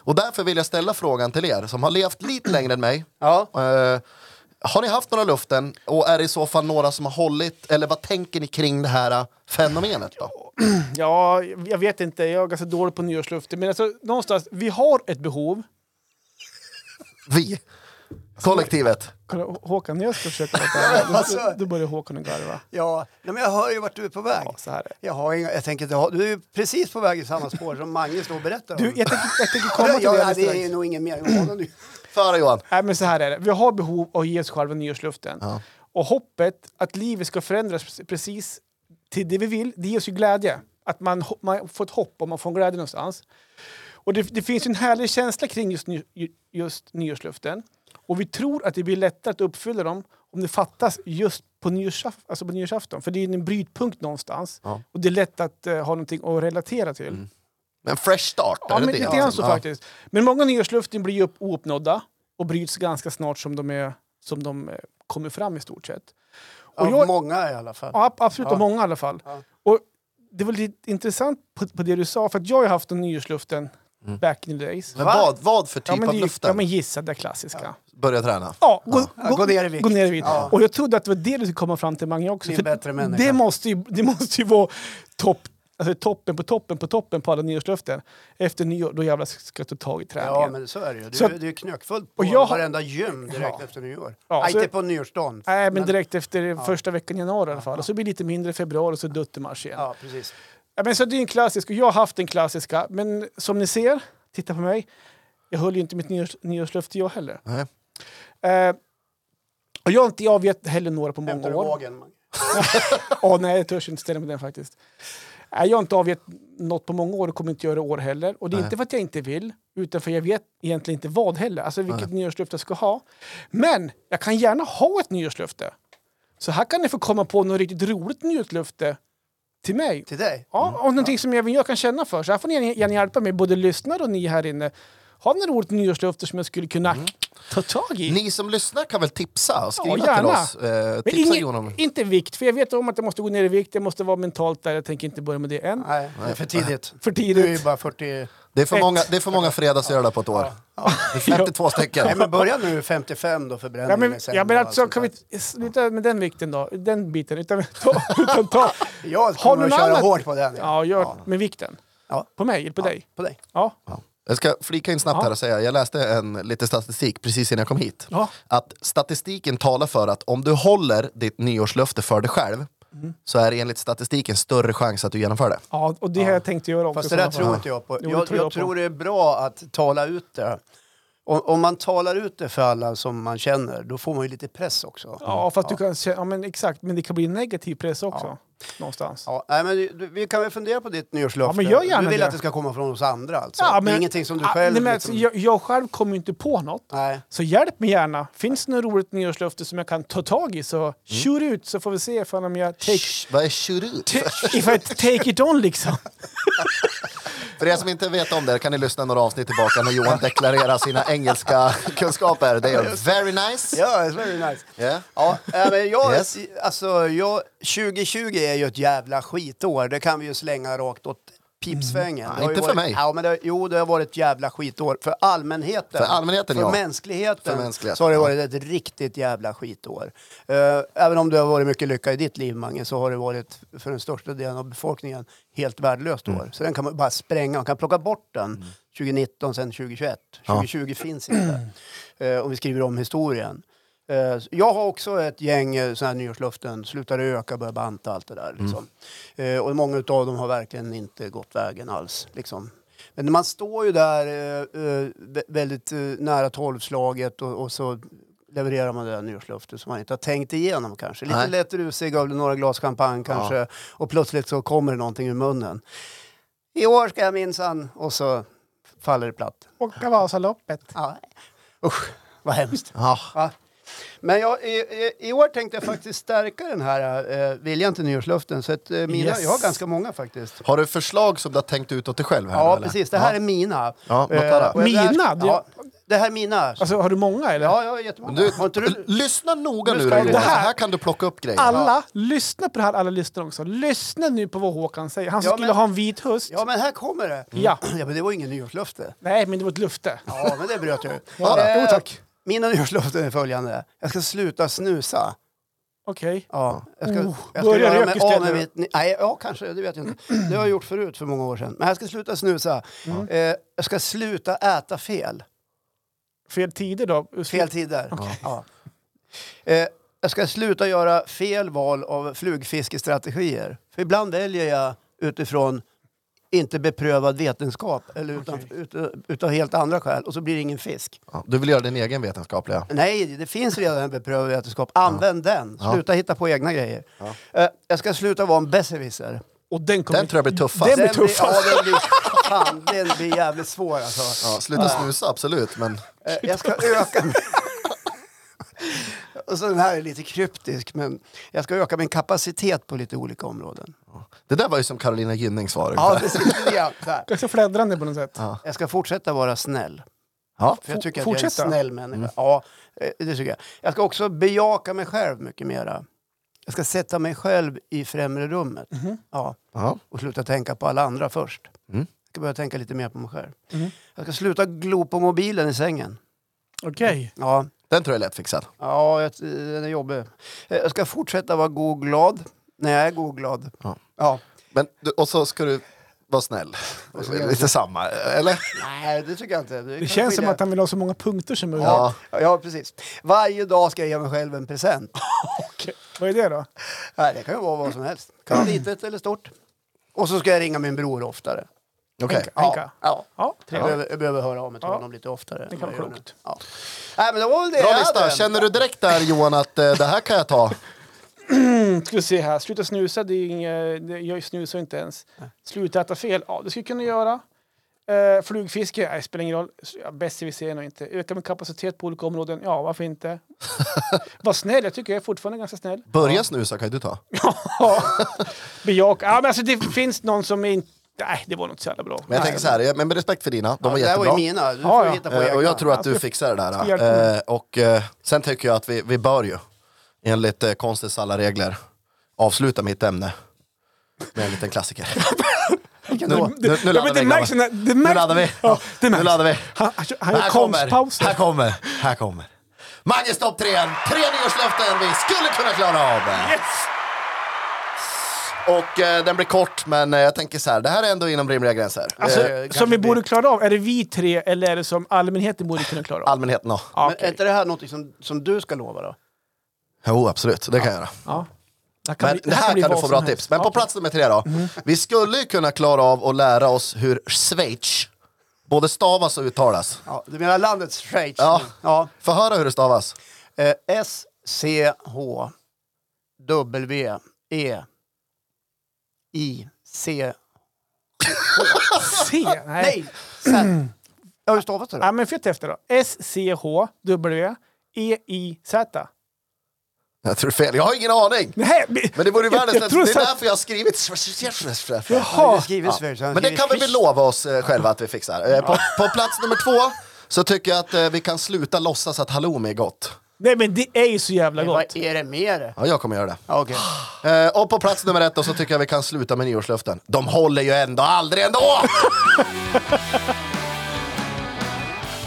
[SPEAKER 3] Och därför vill jag ställa frågan till er som har levt lite längre än mig.
[SPEAKER 1] Ja.
[SPEAKER 3] Eh, Har ni haft några luften och är det i så fall några som har hållit eller vad tänker ni kring det här äh, fenomenet då?
[SPEAKER 2] Ja, jag vet inte. Jag är ganska dålig på nyårslufter. Men alltså, någonstans, vi har ett behov.
[SPEAKER 3] Vi, kollektivet.
[SPEAKER 2] Kolla, H- Håkan, jag ska försöka prata. Du, du börjar Håkan och garva.
[SPEAKER 1] Ja, nej, men jag hör ju vart du är på väg.
[SPEAKER 2] Ja, så här är det.
[SPEAKER 1] Jag, har inga, jag tänker, inte ha- du är ju precis på väg i samma spår som Mange står och berättar om.
[SPEAKER 2] Du, jag tänker, jag tänker komma till
[SPEAKER 1] ja,
[SPEAKER 2] det
[SPEAKER 1] ja,
[SPEAKER 2] alldeles
[SPEAKER 1] det är
[SPEAKER 2] strax.
[SPEAKER 1] nog ingen mer än honom nu.
[SPEAKER 3] Före Johan.
[SPEAKER 2] Nej, men så här är det. Vi har behov av att ge oss själva nyårsluften.
[SPEAKER 3] Ja.
[SPEAKER 2] Och hoppet att livet ska förändras precis till det vi vill, det ger oss ju glädje. Att man, ho- man får ett hopp och man får en glädje någonstans. Och det, det finns ju en härlig känsla kring just, ny, ju- just nyårsluften. Och vi tror att det blir lättare att uppfylla dem om det fattas just på, nyårsaft, alltså på nyårsafton. För det är ju en brytpunkt någonstans.
[SPEAKER 3] Ja. Mm.
[SPEAKER 2] Och det är lätt att eh, ha någonting att relatera till.
[SPEAKER 3] En fresh start,
[SPEAKER 2] Ja,
[SPEAKER 3] är det
[SPEAKER 2] men
[SPEAKER 3] det?
[SPEAKER 2] lite grann så
[SPEAKER 3] Ja.
[SPEAKER 2] faktiskt. Men många nyårslöften blir ju upp, ouppnådda och bryts ganska snart som de, är, som de eh, kommer fram i stort sett. Och
[SPEAKER 1] Av
[SPEAKER 2] jag,
[SPEAKER 1] många i alla fall.
[SPEAKER 2] ja, ab- absolut,
[SPEAKER 1] Ja.
[SPEAKER 2] av många i alla fall.
[SPEAKER 1] Ja.
[SPEAKER 2] Och det var lite intressant på, på det du sa, för att jag har ju haft en nyårslöften
[SPEAKER 1] Mm.
[SPEAKER 2] back in the days.
[SPEAKER 3] Men
[SPEAKER 1] Va?
[SPEAKER 3] vad, vad för typ
[SPEAKER 2] Ja, men,
[SPEAKER 3] av
[SPEAKER 2] det- ja,
[SPEAKER 3] luften?
[SPEAKER 2] men gissa det klassiska.
[SPEAKER 3] Börja träna.
[SPEAKER 2] Ja, gå,
[SPEAKER 1] Ja, gå ner i vikt.
[SPEAKER 2] Gå ner i vikt.
[SPEAKER 1] Ja.
[SPEAKER 2] Och jag trodde att det var det du skulle komma fram till Mange också.
[SPEAKER 1] Bli en
[SPEAKER 2] för
[SPEAKER 1] bättre människa.
[SPEAKER 2] det, måste ju, det måste ju vara topp, alltså toppen på toppen på toppen på alla nyårslöften. Efter nyår, då jävlar ska jag ta tag i träningen.
[SPEAKER 1] Ja, men så är det ju. Det
[SPEAKER 2] Så
[SPEAKER 1] är,
[SPEAKER 2] att-
[SPEAKER 1] ju- det är ju knökfullt på
[SPEAKER 2] Och jag har-
[SPEAKER 1] varenda gym direkt
[SPEAKER 2] Ja.
[SPEAKER 1] efter nyår.
[SPEAKER 2] Ja,
[SPEAKER 1] Nej,
[SPEAKER 2] så-
[SPEAKER 1] inte på nyårsdagen.
[SPEAKER 2] Nej, men direkt efter första veckan i januari i alla fall. Och så blir det lite mindre i februari och så dutt i mars igen. Ja.
[SPEAKER 1] Ja, precis.
[SPEAKER 2] men så det är en klassisk och jag har haft den klassiska. Men som ni ser, titta på mig. Jag höll ju inte mitt nyårs, nyårslöfte jag heller.
[SPEAKER 3] Nej.
[SPEAKER 2] Eh, och jag har inte avgett heller några på många
[SPEAKER 1] Hämtar du
[SPEAKER 2] år.
[SPEAKER 1] vågen? Mange?
[SPEAKER 2] Åh nej, jag törs inte ställa mig den faktiskt. Nej, jag har inte avgett något på många år och kommer inte göra i år heller. Och det är
[SPEAKER 3] Nej.
[SPEAKER 2] inte för att jag inte vill, utan för jag vet egentligen inte vad heller. Alltså vilket nyårslöfte jag ska ha. Men jag kan gärna ha ett nyårslöfte. Så här kan ni få komma på något riktigt roligt nyårslöfte till mig.
[SPEAKER 1] Till dig?
[SPEAKER 2] Ja, och någonting som även jag kan känna för. Så här får ni gärna hjälpa mig, både lyssnare och ni här inne. Har ni något roligt nyårslöfte som jag skulle kunna ta tag i?
[SPEAKER 3] Ni som lyssnar kan väl tipsa och skriva till
[SPEAKER 2] gärna.
[SPEAKER 3] oss? Eh,
[SPEAKER 2] Men
[SPEAKER 3] tipsa
[SPEAKER 2] ingen-
[SPEAKER 3] Jonas.
[SPEAKER 2] inte vikt, för jag vet om att jag måste gå ner i vikt, jag måste vara mentalt där, jag tänker inte börja med det än.
[SPEAKER 1] Nej, det är för tidigt.
[SPEAKER 2] För
[SPEAKER 1] Du är ju
[SPEAKER 2] tidigt.
[SPEAKER 1] bara 40...
[SPEAKER 3] Det är för
[SPEAKER 2] Ett.
[SPEAKER 3] många, det är för många fredagsölar på ett år. Det är 52
[SPEAKER 1] Nej,
[SPEAKER 3] stycken.
[SPEAKER 1] men börja nu 55 då förbränningen
[SPEAKER 2] Ja men,
[SPEAKER 1] är sämre
[SPEAKER 2] ja, men
[SPEAKER 1] och
[SPEAKER 2] alltså,
[SPEAKER 1] allt
[SPEAKER 2] kan vi
[SPEAKER 1] sånt
[SPEAKER 2] t- sluta med den vikten då? Den biten. Utan, ta, utan ta.
[SPEAKER 1] där. Jag kommer att
[SPEAKER 2] någon
[SPEAKER 1] köra
[SPEAKER 2] annan-
[SPEAKER 1] hårt på den. Ja.
[SPEAKER 2] Ja, gör med vikten.
[SPEAKER 1] Ja.
[SPEAKER 2] På mig eller på dig?
[SPEAKER 1] På dig.
[SPEAKER 2] Ja.
[SPEAKER 3] Jag ska flika in snabbt här och säga, jag läste en, lite statistik precis innan jag kom hit.
[SPEAKER 2] Ja.
[SPEAKER 3] Att statistiken talar för att om du håller ditt nyårslöfte för dig själv
[SPEAKER 2] Mm.
[SPEAKER 3] så är det enligt statistiken större chans att du genomför det.
[SPEAKER 2] ja, och det har jag tänkt göra också.
[SPEAKER 1] Fast det där
[SPEAKER 2] i så fall.
[SPEAKER 1] tror inte jag på.
[SPEAKER 2] Jo, det
[SPEAKER 1] jag,
[SPEAKER 2] tror
[SPEAKER 1] jag
[SPEAKER 2] jag på.
[SPEAKER 1] tror det är bra att tala ut det. Om, om man talar ut det för alla som man känner, då får man ju lite press också.
[SPEAKER 2] Ja, för att du kan kä- ja, men exakt. Men det kan bli en negativ press också. Någonstans. Ja.
[SPEAKER 1] Ja, nej, men du- vi kan väl fundera på ditt nyårslöfte?
[SPEAKER 2] Ja, men gör gärna
[SPEAKER 1] du vill
[SPEAKER 2] det.
[SPEAKER 1] att det ska komma från oss andra alltså? det är ingenting som du
[SPEAKER 2] Ah,
[SPEAKER 1] själv...
[SPEAKER 2] Nej, men
[SPEAKER 1] liksom,
[SPEAKER 2] alltså, jag, jag själv kommer ju inte på något.
[SPEAKER 1] nej.
[SPEAKER 2] Så hjälp mig gärna. Finns det något roligt nyårslöfte som jag kan ta tag i
[SPEAKER 1] Mm.
[SPEAKER 2] så shoot ut så får vi se ifall om jag take,
[SPEAKER 3] Sh, Vad är shurut?
[SPEAKER 2] ta- if I take it on liksom.
[SPEAKER 3] För er som inte vet om det kan ni lyssna några avsnitt tillbaka när Johan deklarerar sina engelska kunskaper. Det är very nice.
[SPEAKER 1] Ja, it's very nice.
[SPEAKER 3] Yeah.
[SPEAKER 1] Ja, nej, men jag,
[SPEAKER 3] Yes.
[SPEAKER 1] alltså, jag, 2020 är ju ett jävla skitår. Det kan vi ju slänga rakt åt pipsvängen. Det har ju
[SPEAKER 3] Mm. inte för
[SPEAKER 1] varit,
[SPEAKER 3] mig.
[SPEAKER 1] Ja, men det, jo, det har varit ett jävla skitår. För allmänheten.
[SPEAKER 3] För allmänheten,
[SPEAKER 1] För
[SPEAKER 3] ja.
[SPEAKER 1] mänskligheten.
[SPEAKER 3] För mänskligheten,
[SPEAKER 1] Så har det
[SPEAKER 3] ja.
[SPEAKER 1] varit ett riktigt jävla skitår. Eh, även om det har varit mycket lycka i ditt liv, Mange, så har det varit för den största delen av befolkningen helt värdelöst år. Så den kan man bara spränga. Man kan plocka bort den 2019, sen 2021. 2020 finns inte. Eh, om vi skriver om historien. Eh, Jag har också ett gäng eh, såna här nyårslöften. Sluta röka, börja banta, allt det där. Liksom. Eh, Och många av dem har verkligen inte gått vägen alls. Liksom. Men när man står ju där eh, eh, vä- väldigt eh, nära tolvslaget och, och så levererar man det där nyårslöftet som man inte har tänkt igenom kanske. Lite
[SPEAKER 3] Nej.
[SPEAKER 1] lätt rusig av några glas champagne kanske och plötsligt så kommer det någonting ur munnen. I år ska jag minsann... Och så faller det platt.
[SPEAKER 2] Åka Vasaloppet.
[SPEAKER 1] Ja. Usch, vad hemskt.
[SPEAKER 3] Ja.
[SPEAKER 1] Va? Men jag, i, i, i år tänkte jag faktiskt stärka den här eh, viljan till nyårslöften. Så att, eh, mina,
[SPEAKER 2] Yes.
[SPEAKER 1] Jag har ganska många faktiskt.
[SPEAKER 3] Har du förslag som du har tänkt ut åt dig själv? Här,
[SPEAKER 1] Ja,
[SPEAKER 3] eller? Ah.
[SPEAKER 1] precis. Det här
[SPEAKER 3] Ja.
[SPEAKER 1] är mina. Eh,
[SPEAKER 3] Ja, notera.
[SPEAKER 1] och jag lär-
[SPEAKER 2] Mina? Det-
[SPEAKER 1] Ja, det här är mina.
[SPEAKER 2] Alltså har du många eller?
[SPEAKER 1] ja, jag har jättemånga.
[SPEAKER 3] Du,
[SPEAKER 1] Har inte
[SPEAKER 3] l-
[SPEAKER 1] du...
[SPEAKER 3] lyssna noga
[SPEAKER 1] Nu
[SPEAKER 3] nu
[SPEAKER 1] ska
[SPEAKER 3] Johan,
[SPEAKER 1] vi-
[SPEAKER 3] så
[SPEAKER 1] det
[SPEAKER 2] här-
[SPEAKER 3] här kan du plocka upp grejer.
[SPEAKER 2] Alla, lyssna på det här, alla lyssnar också. Lyssna nu på vad Håkan säger. Han
[SPEAKER 1] Ja,
[SPEAKER 2] skulle
[SPEAKER 1] men-
[SPEAKER 2] ha en vit hust.
[SPEAKER 1] Ja, men här kommer det.
[SPEAKER 2] Mm. Ja.
[SPEAKER 1] Ja, men det var ingen nyårslöfte.
[SPEAKER 2] Nej, men det var ett lufte.
[SPEAKER 1] Ja, men det bröt jag ju.
[SPEAKER 2] Ja,
[SPEAKER 1] Eh,
[SPEAKER 2] jo, tack.
[SPEAKER 1] Mina nyårslöften är följande. Jag ska sluta snusa.
[SPEAKER 2] Okej.
[SPEAKER 1] Ja, jag ska,
[SPEAKER 2] Oh,
[SPEAKER 1] jag ska
[SPEAKER 2] börja
[SPEAKER 1] göra
[SPEAKER 2] rök
[SPEAKER 1] mig av med
[SPEAKER 2] istället.
[SPEAKER 1] mitt... Nej, ja, kanske. Det vet jag inte. Det har jag gjort förut för många år sedan. Men jag ska sluta snusa.
[SPEAKER 2] Mm.
[SPEAKER 1] Eh, jag ska sluta äta fel.
[SPEAKER 2] Fel tider då?
[SPEAKER 1] Fel tider. Ja. Eh, jag ska sluta göra fel val av flugfiskestrategier. För ibland väljer jag utifrån inte beprövad vetenskap eller utan, ut- utav helt andra skäl och så blir det ingen fisk.
[SPEAKER 3] Ja, du vill göra din egen vetenskapliga.
[SPEAKER 1] Nej, det finns redan en beprövad vetenskap. Använd den. Sluta hitta på egna grejer. Eh, jag ska sluta vara en besserwisser.
[SPEAKER 2] Och den kommer...
[SPEAKER 3] Den tror jag blir tuffast.
[SPEAKER 2] Den blir
[SPEAKER 1] blir,
[SPEAKER 2] tuffast.
[SPEAKER 1] ja, den, blir, fan, den blir jävligt svår alltså.
[SPEAKER 3] Ja, sluta snusa, absolut. Men
[SPEAKER 1] Eh, Jag ska öka... min- Och så den här är lite kryptisk, men jag ska öka min kapacitet på lite olika områden.
[SPEAKER 3] det där var ju som Carolina Gynnings svar.
[SPEAKER 1] Ja,
[SPEAKER 3] ungefär.
[SPEAKER 1] det ser jag. Så här.
[SPEAKER 2] Ganska fläddrande på något sätt.
[SPEAKER 1] Jag ska fortsätta vara snäll.
[SPEAKER 3] Ja.
[SPEAKER 1] För jag tycker att jag är
[SPEAKER 2] fortsätta?
[SPEAKER 1] en snäll människa. Ja, eh, det tycker jag. Jag ska också bejaka mig själv mycket mera. Jag ska sätta mig själv i främre rummet. Ja,
[SPEAKER 3] Ja.
[SPEAKER 1] och sluta tänka på alla andra först.
[SPEAKER 3] Mm.
[SPEAKER 1] Jag ska börja tänka lite mer på mig själv. Jag ska sluta glo på mobilen i sängen.
[SPEAKER 2] Okej.
[SPEAKER 1] Ja,
[SPEAKER 3] Den tror jag är lättfixad.
[SPEAKER 1] Ja, jag, den är jobbig. Eh, Jag ska fortsätta vara god och glad när jag är god och glad.
[SPEAKER 3] Ja.
[SPEAKER 1] Ja.
[SPEAKER 3] Men, du- och så ska du vara snäll. Lite samma, eller?
[SPEAKER 1] Nej, det tycker jag inte.
[SPEAKER 2] Det känns som att han vill ha så många punkter som möjligt.
[SPEAKER 1] Ja. ja, precis. Varje dag ska jag ge mig själv en present.
[SPEAKER 2] Okej. Vad är det då?
[SPEAKER 1] Nej, det kan ju vara vad som helst. Kan vara litet eller stort. Och så ska jag ringa min bror oftare.
[SPEAKER 3] Okej.
[SPEAKER 2] Henka, Henka.
[SPEAKER 1] Ja.
[SPEAKER 2] Ja,
[SPEAKER 1] Jag
[SPEAKER 2] trevligt.
[SPEAKER 1] behöver, jag behöver höra av mig till
[SPEAKER 2] Ja.
[SPEAKER 1] honom lite oftare. än
[SPEAKER 2] kan vara
[SPEAKER 1] vad jag gör nu.
[SPEAKER 2] klokt.
[SPEAKER 1] Ja. Nej, men det var väl det
[SPEAKER 3] Bra
[SPEAKER 1] jag
[SPEAKER 3] lista.
[SPEAKER 1] hade.
[SPEAKER 3] Känner du direkt där Johan att eh, det här kan jag ta?
[SPEAKER 2] Ska vi se här. Sluta snusa, det är inget, det, jag snusar inte ens. Sluta äta fel, ja det skulle jag kunna göra. Eh, flugfiske, nej spelar ingen roll. Ja, Bäst vi ser nog inte. Öka min kapacitet på olika områden, ja varför inte. Var snäll, jag tycker jag är fortfarande ganska snäll.
[SPEAKER 3] Börja snusa kan ju du ta.
[SPEAKER 2] Ja. Bejaka, ja men alltså det finns någon som är inte... Nej, det var nog inte så jävla bra.
[SPEAKER 3] Men jag
[SPEAKER 2] Nej.
[SPEAKER 3] tänker så här, jag- men med respekt för dina, de var
[SPEAKER 1] det här var ju
[SPEAKER 3] jättebra.
[SPEAKER 1] mina. Du
[SPEAKER 2] Ja,
[SPEAKER 1] får
[SPEAKER 2] ja.
[SPEAKER 1] hitta på
[SPEAKER 3] Eh,
[SPEAKER 1] egna.
[SPEAKER 3] Och jag tror att du
[SPEAKER 2] Alltså,
[SPEAKER 3] fixar det där.
[SPEAKER 2] hjälp
[SPEAKER 3] eh.
[SPEAKER 2] mig.
[SPEAKER 3] Eh, Och eh, sen tycker jag att vi, vi bör ju, enligt eh, konstens alla regler, avsluta mitt ämne med en liten klassiker. nu, nu, nu,
[SPEAKER 2] Ja,
[SPEAKER 3] laddar
[SPEAKER 2] men det
[SPEAKER 3] vi,
[SPEAKER 2] märks,
[SPEAKER 3] grabbar.
[SPEAKER 2] när- det märks.
[SPEAKER 3] nu laddar vi.
[SPEAKER 2] Ja, det
[SPEAKER 3] nu
[SPEAKER 2] märks.
[SPEAKER 3] laddar vi.
[SPEAKER 2] Han, han, han gör
[SPEAKER 3] här, kommer,
[SPEAKER 2] konstpauser.
[SPEAKER 3] här kommer, här kommer. Manges topp tre, tre nyårslöften vi skulle kunna klara av.
[SPEAKER 2] Yes!
[SPEAKER 3] Och eh, den blir kort, men eh, jag tänker så här, det här är ändå inom rimliga gränser.
[SPEAKER 2] Alltså,
[SPEAKER 3] eh,
[SPEAKER 1] kanske
[SPEAKER 2] som vi
[SPEAKER 1] blir-
[SPEAKER 2] borde klara av, är det vi tre eller är det som allmänheten borde kunna klara av?
[SPEAKER 3] allmänheten, ja.
[SPEAKER 2] Ja,
[SPEAKER 1] Men är
[SPEAKER 2] okej.
[SPEAKER 1] inte det här något som, som du ska lova då?
[SPEAKER 3] Jo, absolut, det kan jag göra.
[SPEAKER 2] Ja. Det här kan,
[SPEAKER 3] Men
[SPEAKER 2] bli-
[SPEAKER 3] det här
[SPEAKER 2] bli
[SPEAKER 3] kan du
[SPEAKER 2] vad
[SPEAKER 3] få
[SPEAKER 2] som
[SPEAKER 3] bra
[SPEAKER 2] helst. Ah,
[SPEAKER 3] tips. Men på plats nummer tre då. Vi skulle ju kunna klara av att lära oss hur Schweiz både stavas och uttalas.
[SPEAKER 1] Ja, du menar landet Schweiz?
[SPEAKER 3] Ja.
[SPEAKER 1] ja.
[SPEAKER 3] Få höra hur det stavas.
[SPEAKER 1] Eh, E, S-C-H-W-E-I-C...
[SPEAKER 2] Se, nej.
[SPEAKER 1] Nej! Z. Ja, hur stavas det
[SPEAKER 2] Ja,
[SPEAKER 1] då?
[SPEAKER 2] men fett efter då. E S-C-H-W-E-I-Z.
[SPEAKER 3] Jag tror fel, jag har ingen aning.
[SPEAKER 2] Nej, men,
[SPEAKER 3] Men det vore
[SPEAKER 2] Jag-
[SPEAKER 3] ju världens
[SPEAKER 2] jag
[SPEAKER 3] lätt-
[SPEAKER 2] tror
[SPEAKER 3] Det är
[SPEAKER 2] så att-
[SPEAKER 3] därför jag har skrivit Schweiz.
[SPEAKER 1] Han har
[SPEAKER 2] jaha.
[SPEAKER 1] inte skrivit Schweiz, han har
[SPEAKER 3] Men det
[SPEAKER 1] skrivit
[SPEAKER 3] kan vi väl
[SPEAKER 1] Schweiz.
[SPEAKER 3] lova oss eh, själva att vi fixar. Eh, På, på plats nummer två så tycker jag att eh, vi kan sluta låtsas att halloumi är gott.
[SPEAKER 2] Nej, men det är ju så jävla gott.
[SPEAKER 1] Vad är det med det?
[SPEAKER 3] Ja, jag kommer göra det.
[SPEAKER 1] Ja, okej.
[SPEAKER 3] Eh, och på plats nummer ett då, så tycker jag vi kan sluta med nyårslöften. De håller ju ändå aldrig ändå!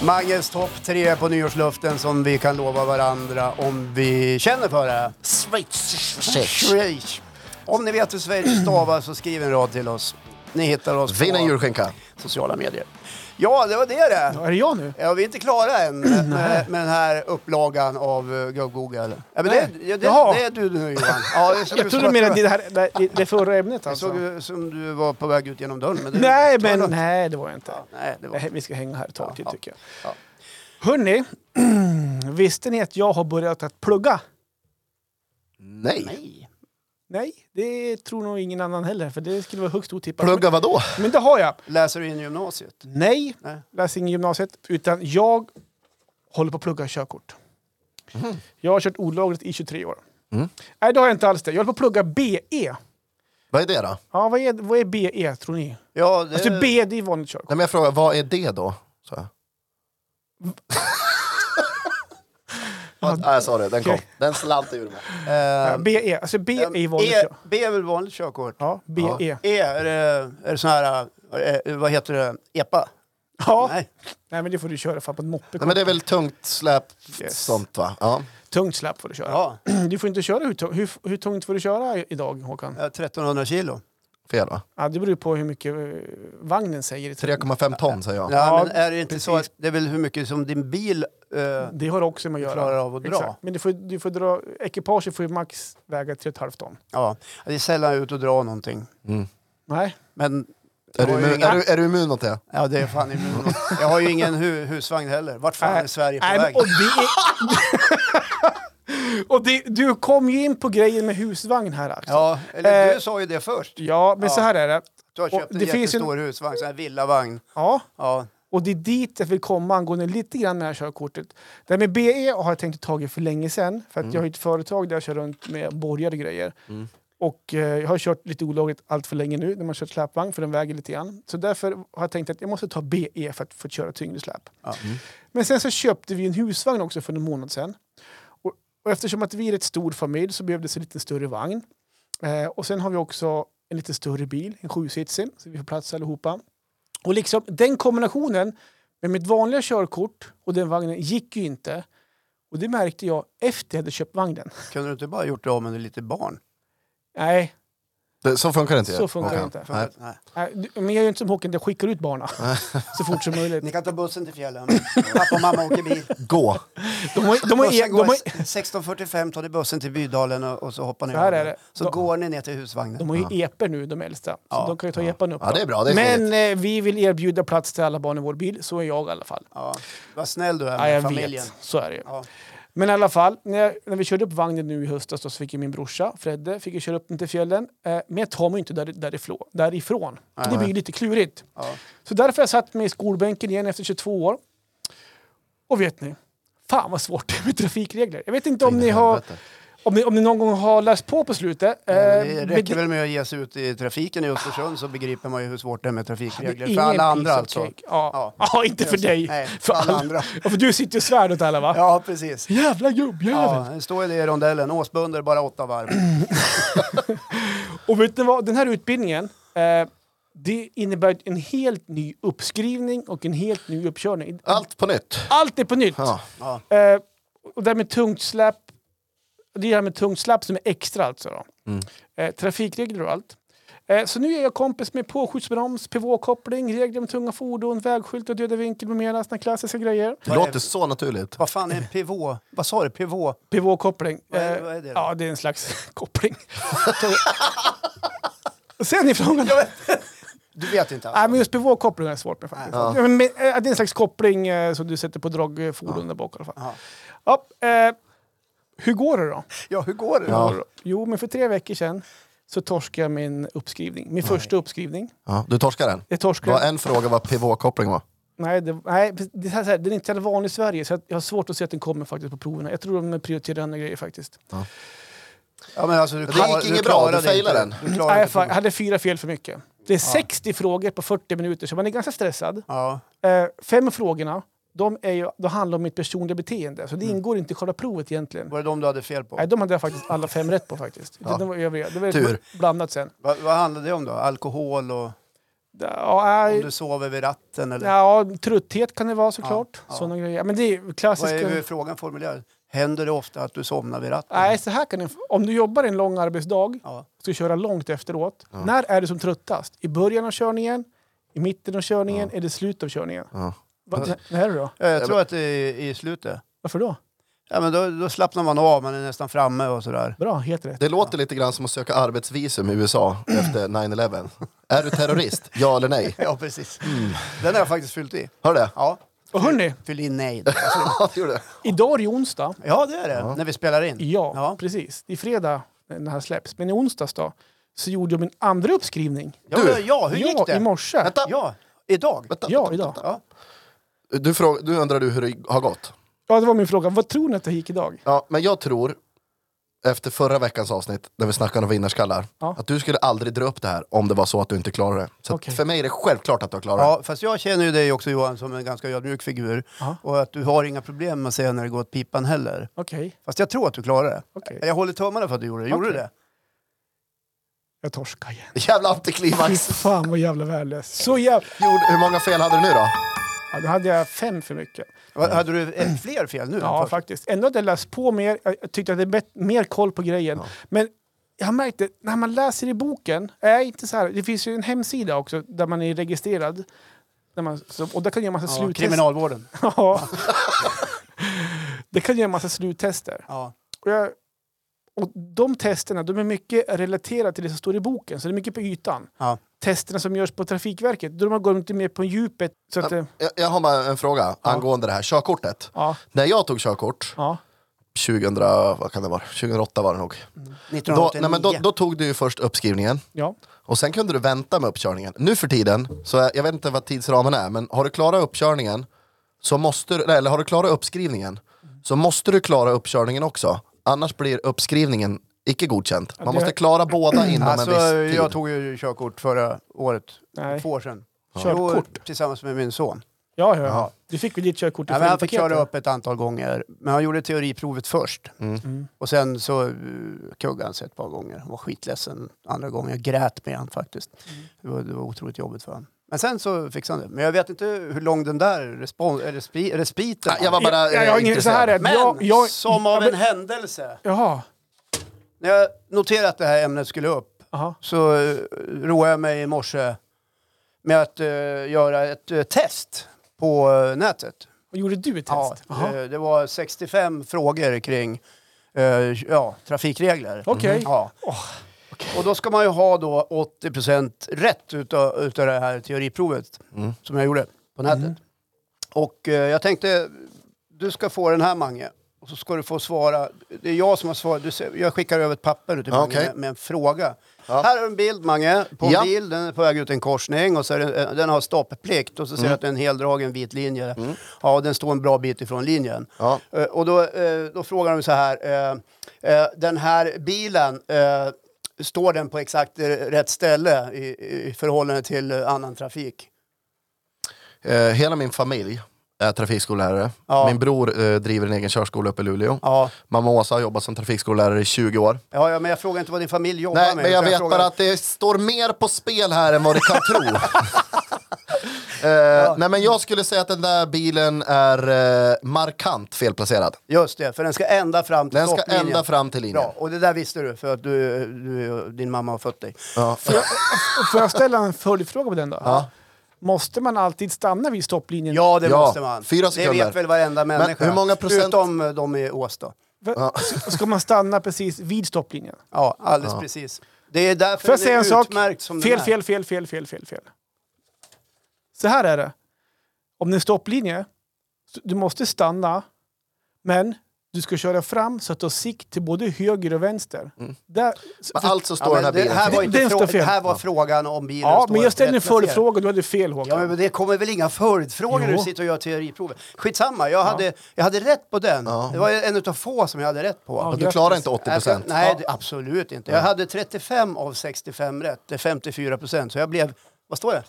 [SPEAKER 1] Manges topp tre på nyårsluften som vi kan lova varandra om vi känner för det.
[SPEAKER 3] Schweiz.
[SPEAKER 1] Schweiz. Om ni vet hur Schweiz stavas så skriv en rad till oss. Ni hittar oss
[SPEAKER 3] Vinn en
[SPEAKER 1] på
[SPEAKER 3] julskinka.
[SPEAKER 1] sociala medier. Ja, det var det det.
[SPEAKER 2] Är det jag nu?
[SPEAKER 1] Ja, vi är inte klara än med, med, med den här upplagan av uh, Google. Ja, men det,
[SPEAKER 2] Nej.
[SPEAKER 1] ja, det,
[SPEAKER 2] Jaha.
[SPEAKER 1] det är du nu Johan. Ja, det såg
[SPEAKER 2] Jag
[SPEAKER 1] ut
[SPEAKER 2] trodde
[SPEAKER 1] som
[SPEAKER 2] mer
[SPEAKER 1] att-
[SPEAKER 2] att det, här, det, det förra ämnet
[SPEAKER 1] det såg
[SPEAKER 2] alltså.
[SPEAKER 1] ut som du var på väg ut genom dörren. Men det,
[SPEAKER 2] Nej,
[SPEAKER 1] ta det
[SPEAKER 2] men
[SPEAKER 1] lugnt.
[SPEAKER 2] nej, det var jag inte.
[SPEAKER 1] Nej, det var...
[SPEAKER 2] Nej, Vi ska hänga här ett tag till tycker jag.
[SPEAKER 1] Ja.
[SPEAKER 2] Hörni, visste ni att jag har börjat att plugga?
[SPEAKER 3] Nej.
[SPEAKER 1] Nej.
[SPEAKER 2] Nej, det tror nog ingen annan heller, för det skulle vara högst otippat.
[SPEAKER 3] Plugga vadå?
[SPEAKER 2] Men, men det har jag.
[SPEAKER 1] Läser du in i gymnasiet?
[SPEAKER 2] Nej,
[SPEAKER 1] Nej.
[SPEAKER 2] läser ingen gymnasiet, utan jag håller på att plugga körkort. Jag har kört olagligt i 23 år. Nej, det har jag inte alls det. Jag håller på att plugga BE.
[SPEAKER 3] Vad är det då?
[SPEAKER 2] Ja, vad är, vad är BE tror ni?
[SPEAKER 1] Ja, det...
[SPEAKER 2] Alltså BE, det är vanligt körkort.
[SPEAKER 3] Nej, men jag frågar, vad är det då? Så. jag. Vad- Nej, jag sa det. Den kom. Den slant ur mig.
[SPEAKER 1] eh,
[SPEAKER 2] Ja, BE, alltså BE är vanligt
[SPEAKER 1] e,
[SPEAKER 2] körkort.
[SPEAKER 1] B är väl vanligt körkort?
[SPEAKER 2] Ja, E. BE.
[SPEAKER 1] eh, E, är det, är det sån här, eh, vad heter det, EPA?
[SPEAKER 2] Ja. Nej.
[SPEAKER 1] Nej.
[SPEAKER 2] men det får du köra fan på en moppe.
[SPEAKER 3] Nej, men det är väl tungt släp,
[SPEAKER 2] Yes.
[SPEAKER 3] sånt va? Ja.
[SPEAKER 2] Tungt släp får du köra.
[SPEAKER 1] Ja,
[SPEAKER 2] Du får inte köra hur, tung- hur, hur tungt får du köra i- idag Håkan?
[SPEAKER 1] eh, 1300 kilo.
[SPEAKER 3] Fel va?
[SPEAKER 2] Ja, det beror ju på hur mycket eh, vagnen säger. i träck.
[SPEAKER 3] 3,5 ton säger jag.
[SPEAKER 1] Ja,
[SPEAKER 2] Ja,
[SPEAKER 1] men är det inte så
[SPEAKER 2] precis.
[SPEAKER 1] att det är väl hur mycket som din bil eh,
[SPEAKER 2] Det har också med att göra.
[SPEAKER 1] klarar av att dra?
[SPEAKER 2] Exakt. Men du får, du får dra, ekipaget får ju max väga 3,5 ton.
[SPEAKER 1] Ja, det är sällan jag är ute och drar någonting.
[SPEAKER 2] Nej,
[SPEAKER 1] Men
[SPEAKER 3] Är du,
[SPEAKER 1] Jag har ju
[SPEAKER 3] immun,
[SPEAKER 1] inga-
[SPEAKER 3] är, du, är du immun mot det?
[SPEAKER 1] Ja, det är fan immun. Jag har ju ingen hu husvagn heller. Vart fan
[SPEAKER 2] Nej.
[SPEAKER 1] är Sverige på
[SPEAKER 2] Äh, Nej, men-
[SPEAKER 1] väg?
[SPEAKER 2] och det är... och det, du kom ju in på grejen med husvagn här Axel.
[SPEAKER 1] Ja, eller
[SPEAKER 2] Eh,
[SPEAKER 1] du sa ju det först.
[SPEAKER 2] Ja, men
[SPEAKER 1] Ja.
[SPEAKER 2] så här är det.
[SPEAKER 1] Du har
[SPEAKER 2] och
[SPEAKER 1] köpt en
[SPEAKER 2] det finns ju en-
[SPEAKER 1] jättestor husvagn, sån här villavagn.
[SPEAKER 2] Ja,
[SPEAKER 1] Ja,
[SPEAKER 2] och det är dit jag vill komma angående lite grann med det här körkortet. Det här med BE har jag tänkt ta för länge sedan. För att jag har ju ett företag där jag kör runt med borgare och grejer. Och eh, jag har kört lite olagligt allt för länge nu när man kört släpvagn för den väger lite grann. Så därför har jag tänkt att jag måste ta BE för att få köra tyngre släp.
[SPEAKER 1] Ja.
[SPEAKER 2] Men sen så köpte vi en husvagn också för en månad sedan. Och, och eftersom att vi är ett stor familj så behövdes en lite större vagn. Eh, och sen har vi också en lite större bil, en sjusitsig, så vi får plats allihopa. Och liksom den kombinationen med mitt vanliga körkort och den vagnen gick ju inte. Och det märkte jag efter jag hade köpt vagnen.
[SPEAKER 1] kunde du inte bara gjort det av med lite barn?
[SPEAKER 2] Nej,
[SPEAKER 3] Det, så funkar det inte.
[SPEAKER 2] Så funkar det
[SPEAKER 3] Håkan.
[SPEAKER 2] inte.
[SPEAKER 3] Nej.
[SPEAKER 1] Nej.
[SPEAKER 2] nej, du- men jag är ju inte som Håkan, jag skickar ut barna så fort som möjligt.
[SPEAKER 1] Ni kan ta bussen till fjällen. Pappa och mamma åker bil.
[SPEAKER 3] Gå!
[SPEAKER 2] De har, de har, e-
[SPEAKER 1] Bussen
[SPEAKER 2] de
[SPEAKER 1] går
[SPEAKER 2] har,
[SPEAKER 1] 16.45 tar ni bussen till Bydalen och, och så hoppar ni
[SPEAKER 2] Så här
[SPEAKER 1] av
[SPEAKER 2] är
[SPEAKER 1] den.
[SPEAKER 2] det.
[SPEAKER 1] Så
[SPEAKER 2] De-
[SPEAKER 1] går ni ner till husvagnen.
[SPEAKER 2] De har ju eper nu, de äldsta. Så
[SPEAKER 1] Ja,
[SPEAKER 2] de kan ju ta epan upp.
[SPEAKER 3] Ja, det är bra. Det är
[SPEAKER 2] Men
[SPEAKER 3] smidigt.
[SPEAKER 2] eh, vi vill erbjuda plats till alla barn i vår bil. Så är jag i alla fall.
[SPEAKER 1] Ja. Vad snäll du är
[SPEAKER 2] Ja,
[SPEAKER 1] med
[SPEAKER 2] jag
[SPEAKER 1] familjen.
[SPEAKER 2] vet. Så är det ju.
[SPEAKER 1] Ja.
[SPEAKER 2] Men i alla fall, när, jag, när vi körde upp vagnen nu i höstas då, så fick ju min brorsa, Fredde, fick ju köra upp den till fjällen. Eh, men jag tar mig ju inte där, därifrån. därifrån. Det blir ju lite klurigt.
[SPEAKER 1] Ja.
[SPEAKER 2] Så därför har jag satt mig i skolbänken igen efter 22 år. Och vet ni, fan vad svårt det är med trafikregler. Jag vet inte om ni, har,
[SPEAKER 3] Helvete.
[SPEAKER 2] om, ni, om ni någon gång har läst på på slutet. Eh,
[SPEAKER 1] Det räcker
[SPEAKER 2] men-
[SPEAKER 1] väl med att ge sig ut i trafiken i Östersund så begriper man ju hur svårt det är med trafikregler.
[SPEAKER 2] Ingen
[SPEAKER 1] För alla andra
[SPEAKER 2] piece of
[SPEAKER 1] alltså.
[SPEAKER 2] cake. Ja. Ja.
[SPEAKER 1] Ja.
[SPEAKER 2] inte för
[SPEAKER 1] Just det.
[SPEAKER 2] dig.
[SPEAKER 1] Nej, för alla andra.
[SPEAKER 2] Ja, för du sitter ju och svär åt alla va?
[SPEAKER 1] Ja, precis.
[SPEAKER 2] Jävla gubbjävel!
[SPEAKER 1] Ja, det står ju det i rondellen. Åsbönder bara åtta varv.
[SPEAKER 2] Och vet ni vad? Den här utbildningen, eh, det innebär en helt ny uppskrivning och en helt ny uppkörning.
[SPEAKER 3] Allt på nytt.
[SPEAKER 2] Allt är på nytt!
[SPEAKER 3] Ja.
[SPEAKER 1] Ja.
[SPEAKER 2] Eh, och det här med tungt släp, det är det här med tungt släp som är extra alltså då.
[SPEAKER 3] Mm.
[SPEAKER 2] Eh, trafikregler och allt. Eh, så nu är jag kompis med påskjutsbroms, pivåkoppling, regler om tunga fordon, vägskylt och döda vinkel med mera såna klassiska grejer.
[SPEAKER 3] Det låter så naturligt.
[SPEAKER 1] Vad fan är en pivot? Vad sa du? Pivot?
[SPEAKER 2] Pivåkoppling.
[SPEAKER 1] Vad är-
[SPEAKER 2] Eh,
[SPEAKER 1] vad är det då?
[SPEAKER 2] Ja, det är en slags koppling. Sen är frågan...
[SPEAKER 1] Du vet inte
[SPEAKER 2] Nej,
[SPEAKER 1] alltså?
[SPEAKER 2] men just pivåkoppling är svårt med faktiskt. Ja. Men, men, eh, det är en slags koppling eh, som du sätter på dragfordon där bak i alla fall.
[SPEAKER 1] Ja.
[SPEAKER 2] Ja, eh, hur går det då?
[SPEAKER 1] Ja, hur går det då?
[SPEAKER 3] Ja.
[SPEAKER 2] Jo, men för tre veckor sedan så torskade jag min uppskrivning. Min första uppskrivning.
[SPEAKER 3] Ja. Du torskar den.
[SPEAKER 2] Jag
[SPEAKER 3] Det var
[SPEAKER 2] torskade...
[SPEAKER 3] en fråga vad pivåkoppling var.
[SPEAKER 2] Nej, det, nej precis, det, är så här, den är inte så jävla vanlig i Sverige så att jag har svårt att se att den kommer faktiskt på proverna. Jag tror de prioriterar andra grejer faktiskt.
[SPEAKER 1] Ja, men alltså, du
[SPEAKER 3] Det
[SPEAKER 1] klar-
[SPEAKER 3] gick
[SPEAKER 1] du
[SPEAKER 3] inget bra,
[SPEAKER 1] klarade
[SPEAKER 3] du failade
[SPEAKER 1] inte. Du klarade
[SPEAKER 2] Nej, jag
[SPEAKER 1] inte
[SPEAKER 2] fa-
[SPEAKER 1] provet.
[SPEAKER 2] hade fyra fel för mycket. Det är 60 frågor på 40 minuter så man är ganska stressad.
[SPEAKER 1] Ja.
[SPEAKER 2] Eh, fem av frågorna, de, är ju, de handlar om mitt personliga beteende. Så det
[SPEAKER 1] Mm.
[SPEAKER 2] ingår inte i själva provet egentligen.
[SPEAKER 1] Var det de du hade fel på?
[SPEAKER 2] Nej, de hade jag faktiskt alla fem rätt på faktiskt.
[SPEAKER 3] Ja.
[SPEAKER 2] Det var, övriga. Det var
[SPEAKER 3] Tur.
[SPEAKER 2] blandat sen.
[SPEAKER 1] Va, vad handlade det om då? Alkohol och
[SPEAKER 2] Ja,
[SPEAKER 1] om
[SPEAKER 2] äh,
[SPEAKER 1] du sover vid ratten? Eller?
[SPEAKER 2] ja, trötthet kan det vara såklart.
[SPEAKER 1] ja.
[SPEAKER 2] Sådana grejer. Men det är ju
[SPEAKER 1] Vad
[SPEAKER 2] klassiska...
[SPEAKER 1] är, hur är frågan formulerad? Händer det ofta att du somnar vid ratten?
[SPEAKER 2] Nej, så här kan det... Om du jobbar en lång arbetsdag
[SPEAKER 1] Ja.
[SPEAKER 2] och ska köra långt efteråt. När är du som tröttast? I början av körningen? I mitten av körningen? Eller i slutet av körningen?
[SPEAKER 3] Ja.
[SPEAKER 2] Va, när- när är det då?
[SPEAKER 1] Eh, Jag tror att det är i slutet.
[SPEAKER 2] Varför då?
[SPEAKER 1] Ja, men då, då slappnar man av, man är nästan framme och sådär.
[SPEAKER 2] Bra, helt rätt.
[SPEAKER 3] Det låter lite grann som att söka arbetsvisum i USA efter 9-11. Är du terrorist? Ja eller nej?
[SPEAKER 1] Ja, precis. Den har jag faktiskt fyllt i.
[SPEAKER 3] Hör det?
[SPEAKER 1] Ja,
[SPEAKER 2] Och hörni,
[SPEAKER 1] fyll i nej.
[SPEAKER 3] Ja, det gjorde det.
[SPEAKER 2] idag är det onsdag.
[SPEAKER 1] Ja, det är det. När vi spelar in.
[SPEAKER 2] Ja,
[SPEAKER 1] Ja.
[SPEAKER 2] precis. Det är fredag när den här släpps. Men i onsdags då så gjorde jag min andra uppskrivning.
[SPEAKER 1] Ja,
[SPEAKER 3] Du.
[SPEAKER 1] ja, ja, hur gick
[SPEAKER 2] ja,
[SPEAKER 1] det?
[SPEAKER 2] i morse.
[SPEAKER 3] Vänta,
[SPEAKER 1] Ja, idag.
[SPEAKER 3] vänta.
[SPEAKER 2] Ja, idag.
[SPEAKER 1] Ja.
[SPEAKER 3] Du, fråg, du undrar du hur det har gått?
[SPEAKER 2] Ja, det var min fråga. Vad tror ni att det gick idag?
[SPEAKER 3] Ja, men jag tror, efter förra veckans avsnitt, där vi snackade om vinnarskallar,
[SPEAKER 2] Ja.
[SPEAKER 3] att du skulle aldrig dra upp det här om det var så att du inte klarade det. Så att
[SPEAKER 2] Okej.
[SPEAKER 3] för mig är det självklart att du har klarat
[SPEAKER 1] Ja, fast jag känner ju dig också Johan som en ganska ödmjuk figur.
[SPEAKER 2] Ja.
[SPEAKER 1] Och att du har inga problem med att säga när det går åt pipan heller.
[SPEAKER 2] Okej,
[SPEAKER 1] Fast jag tror att du klarar det.
[SPEAKER 2] okej.
[SPEAKER 1] Jag håller tummarna för att du gjorde det. Gjorde
[SPEAKER 2] Okej.
[SPEAKER 1] du det?
[SPEAKER 2] Jag torskar igen.
[SPEAKER 3] det. Jävla
[SPEAKER 2] Fy
[SPEAKER 3] antiklimax!
[SPEAKER 2] fan vad jävla värdelös. Så jävla...
[SPEAKER 3] Gjorde- Hur många fel hade du nu då?
[SPEAKER 2] Ja, då hade jag fem för mycket.
[SPEAKER 1] Vad- Hade du eh, fler fel nu?
[SPEAKER 2] Ja, faktiskt. Ändå hade jag läst på mer. Jag tyckte att jag hade bet- mer koll på grejen. Men jag märkte, när man läser i boken, är inte så här, det finns ju en hemsida också där man är registrerad. Där man, så, och där kan jag göra massa
[SPEAKER 1] Ja,
[SPEAKER 2] sluttester.
[SPEAKER 1] kriminalvården.
[SPEAKER 2] Ja. det kan göra massa sluttester.
[SPEAKER 1] Ja.
[SPEAKER 2] Och, jag, och de testerna de är mycket relaterade till det som står i boken, så det är mycket på ytan.
[SPEAKER 1] Ja.
[SPEAKER 2] Testerna som görs på Trafikverket, då de går inte mer på djupet. Så att, det-
[SPEAKER 3] Jag, jag har bara en fråga angående det här körkortet.
[SPEAKER 2] ja,
[SPEAKER 3] När jag tog körkort,
[SPEAKER 2] ja,
[SPEAKER 3] 2000, vad kan det vara? 2008 var det nog. Då,
[SPEAKER 1] 1989.
[SPEAKER 3] nej, men då, då tog du ju först uppskrivningen
[SPEAKER 2] ja.
[SPEAKER 3] och sen kunde du vänta med uppkörningen. Nu för tiden, så jag, jag vet inte vad tidsramen är, men har du klarat uppkörningen så måste du, nej, eller har du klarat uppskrivningen så måste du klara uppkörningen också. Annars blir uppskrivningen icke godkänt. Man
[SPEAKER 2] det-
[SPEAKER 3] måste klara båda inom
[SPEAKER 1] Alltså,
[SPEAKER 3] en viss tid.
[SPEAKER 1] jag tog ju körkort förra året,
[SPEAKER 2] Nej.
[SPEAKER 1] två år sedan.
[SPEAKER 2] Körkort?
[SPEAKER 1] Jo, tillsammans med min son.
[SPEAKER 2] Ja, ja, ja.
[SPEAKER 1] Ja.
[SPEAKER 2] Du fick väl ditt körkort i
[SPEAKER 1] Ja, men han fick
[SPEAKER 2] föreningspaketet?
[SPEAKER 1] köra upp ett antal gånger, men han gjorde teoriprovet först.
[SPEAKER 3] Mm.
[SPEAKER 2] Mm.
[SPEAKER 1] Och sen så eh, kuggade han sig ett par gånger. Han var skitledsen andra gången. Jag grät med han faktiskt.
[SPEAKER 2] Mm.
[SPEAKER 1] Det, var, det var otroligt jobbigt för honom. Men sen så fixade han det. Men jag vet inte hur lång den där respon- eller respi- respiten
[SPEAKER 3] Nej, jag var bara
[SPEAKER 2] Ja, jag har
[SPEAKER 3] eh,
[SPEAKER 2] ingen- så här är
[SPEAKER 3] intresserad.
[SPEAKER 2] det.
[SPEAKER 1] Men
[SPEAKER 2] jag- jag-
[SPEAKER 1] som av
[SPEAKER 2] ja, men-
[SPEAKER 1] en händelse,
[SPEAKER 2] Jaha.
[SPEAKER 1] när jag noterade att det här ämnet skulle upp
[SPEAKER 2] Aha.
[SPEAKER 1] så eh, roade jag mig i morse med att eh, göra ett eh, test på eh, nätet.
[SPEAKER 2] Och gjorde du ett test?
[SPEAKER 1] Ja,
[SPEAKER 2] Jaha.
[SPEAKER 1] eh, det var 65 frågor kring eh, ja, trafikregler.
[SPEAKER 2] Okej. Oh,
[SPEAKER 1] Ja.
[SPEAKER 2] Åh,
[SPEAKER 1] Och då ska man ju ha då 80 rätt utav, utav det här teoriprovet
[SPEAKER 3] Mm.
[SPEAKER 1] som jag gjorde på nätet.
[SPEAKER 2] Mm.
[SPEAKER 1] Och eh, jag tänkte, du ska få den här Mange. Och så ska du få svara. Det är jag som har svarat. Du, ser- jag skickar över ett papper till
[SPEAKER 3] Ja,
[SPEAKER 1] Mange
[SPEAKER 3] okej.
[SPEAKER 1] med, med en fråga.
[SPEAKER 3] Ja.
[SPEAKER 1] Här har du en bild Mange på en
[SPEAKER 3] Ja.
[SPEAKER 1] bil. Den är på väg ut i en korsning och så är eh, den, den har stopplikt. Och så
[SPEAKER 3] Mm.
[SPEAKER 1] ser du att det är en heldragen vit linje. Ja, och den står en bra bit ifrån linjen.
[SPEAKER 3] Ja.
[SPEAKER 1] Eh, Och då, eh, då frågar de så här, eh, eh, den här bilen, eh, står den på exakt eh, rätt ställe i, i förhållande till eh, annan trafik?
[SPEAKER 3] Eh, hela min familj är trafikskollärare.
[SPEAKER 1] Ja.
[SPEAKER 3] Min bror eh, driver en egen körskola uppe i Luleå.
[SPEAKER 1] Ja,
[SPEAKER 3] Mamma Åsa har jobbat som trafikskollärare i 20 år.
[SPEAKER 1] ja ja, men jag frågar inte vad din familj jobbar
[SPEAKER 3] Nej,
[SPEAKER 1] med.
[SPEAKER 3] men jag
[SPEAKER 1] utan
[SPEAKER 3] vet
[SPEAKER 1] frågar-
[SPEAKER 3] bara att det står mer på spel här än vad du kan tro. eh, Nej, men jag skulle säga att den där bilen är eh, markant felplacerad.
[SPEAKER 1] Just det, för den ska ända fram till
[SPEAKER 3] Den ska
[SPEAKER 1] stopplinjen.
[SPEAKER 3] ända fram till linjen.
[SPEAKER 1] Bra, och det där visste du för att du, du, din mamma har fött dig.
[SPEAKER 3] Ja.
[SPEAKER 2] Får jag ställa en följdfråga på den då? Måste man alltid stanna vid stopplinjen?
[SPEAKER 1] Ja, det
[SPEAKER 3] Ja,
[SPEAKER 1] måste man.
[SPEAKER 3] fyra
[SPEAKER 1] Det
[SPEAKER 3] sekunder.
[SPEAKER 1] vet väl varenda människa.
[SPEAKER 3] hur många procent-
[SPEAKER 1] Utom eh, de i Åsta.
[SPEAKER 2] Va- S- Ska man stanna precis vid stopplinjen?
[SPEAKER 1] Ja, alldeles precis. Det är därför
[SPEAKER 2] Får jag
[SPEAKER 1] den
[SPEAKER 2] säga en
[SPEAKER 1] är
[SPEAKER 2] sak?
[SPEAKER 1] utmärkt som
[SPEAKER 2] Fel,
[SPEAKER 1] den är.
[SPEAKER 2] fel, fel, fel, fel, fel, fel. Så här är det. Om det är en stopplinje, så du måste stanna, men du ska köra fram så att du har sikt till både höger och vänster. Där, s-
[SPEAKER 3] Men
[SPEAKER 2] för-
[SPEAKER 3] alltså står
[SPEAKER 1] Ja,
[SPEAKER 3] den här
[SPEAKER 1] men det,
[SPEAKER 3] bilen
[SPEAKER 1] här var
[SPEAKER 2] Det-
[SPEAKER 1] inte
[SPEAKER 2] den står
[SPEAKER 1] frå- det
[SPEAKER 2] fel.
[SPEAKER 1] här var frågan om bilen
[SPEAKER 2] ja,
[SPEAKER 1] står
[SPEAKER 2] men jag ställde en
[SPEAKER 1] rätt placerad.
[SPEAKER 2] följdfråga och du hade fel
[SPEAKER 1] Ja,
[SPEAKER 2] Håkan.
[SPEAKER 1] men det kommer väl inga följdfrågor när
[SPEAKER 2] Jo.
[SPEAKER 1] du sitter och gör teoriprovet. Skitsamma, jag hade, jag hade rätt på den. Det var en utav få som jag hade rätt på.
[SPEAKER 2] Ja,
[SPEAKER 3] till. Du klarar inte 80
[SPEAKER 1] Jag ska-
[SPEAKER 3] procent.
[SPEAKER 1] Alltså, Nej, det, absolut inte. Jag hade 35 av 65 rätt, det är 54 procent. Så jag blev, vad står det?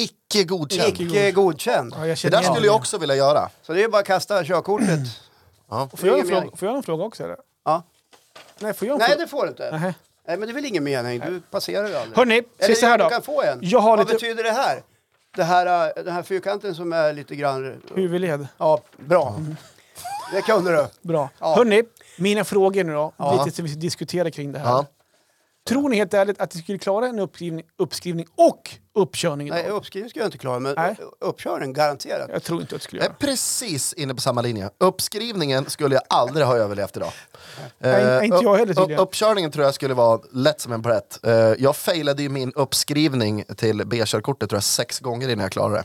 [SPEAKER 3] Icke godkänd.
[SPEAKER 1] Icke godkänd.
[SPEAKER 2] Ja, jag
[SPEAKER 3] Det
[SPEAKER 2] känner
[SPEAKER 3] där
[SPEAKER 2] igen
[SPEAKER 3] skulle jag också vilja göra.
[SPEAKER 1] Så det är bara att kasta körkortet.
[SPEAKER 2] Får jag, en
[SPEAKER 1] Ingen
[SPEAKER 2] fråga,
[SPEAKER 1] mening.
[SPEAKER 2] får jag en fråga också? Eller?
[SPEAKER 1] Ja.
[SPEAKER 2] Nej, får jag en
[SPEAKER 1] Nej,
[SPEAKER 2] fråga?
[SPEAKER 1] det får du inte.
[SPEAKER 2] Nähä.
[SPEAKER 1] Nej, men det är väl ingen mening. Du passerar ju aldrig.
[SPEAKER 2] Hörrni,
[SPEAKER 1] Eller
[SPEAKER 2] se så här
[SPEAKER 1] du
[SPEAKER 2] då.
[SPEAKER 1] kan få en.
[SPEAKER 2] Jag har
[SPEAKER 1] Vad
[SPEAKER 2] lite-
[SPEAKER 1] betyder det här? Det här, äh, den här fyrkanten som är lite grann...
[SPEAKER 2] Huvudled.
[SPEAKER 1] Ja, bra. Det kunde du.
[SPEAKER 2] Bra.
[SPEAKER 1] Ja.
[SPEAKER 2] Hörrni, mina frågor nu då. Lite som vi ska diskutera kring det här.
[SPEAKER 3] Ja.
[SPEAKER 2] Tror ni helt ärligt att ni skulle klara en uppskrivning, uppskrivning och uppkörning idag?
[SPEAKER 1] Nej, uppskrivning ska jag inte klara, men
[SPEAKER 2] Nej.
[SPEAKER 1] uppkörning garanterat.
[SPEAKER 2] Jag tror inte att jag skulle
[SPEAKER 3] Jag är
[SPEAKER 2] göra.
[SPEAKER 3] precis inne på samma linje. Uppskrivningen skulle jag aldrig ha överlevt idag. Eh,
[SPEAKER 2] Nej, inte jag heller,
[SPEAKER 3] upp-
[SPEAKER 2] tydligen.
[SPEAKER 3] Uppkörningen tror jag skulle vara lätt som en plätt. Eh, jag failade ju min uppskrivning till B-körkortet tror jag sex gånger innan jag klarade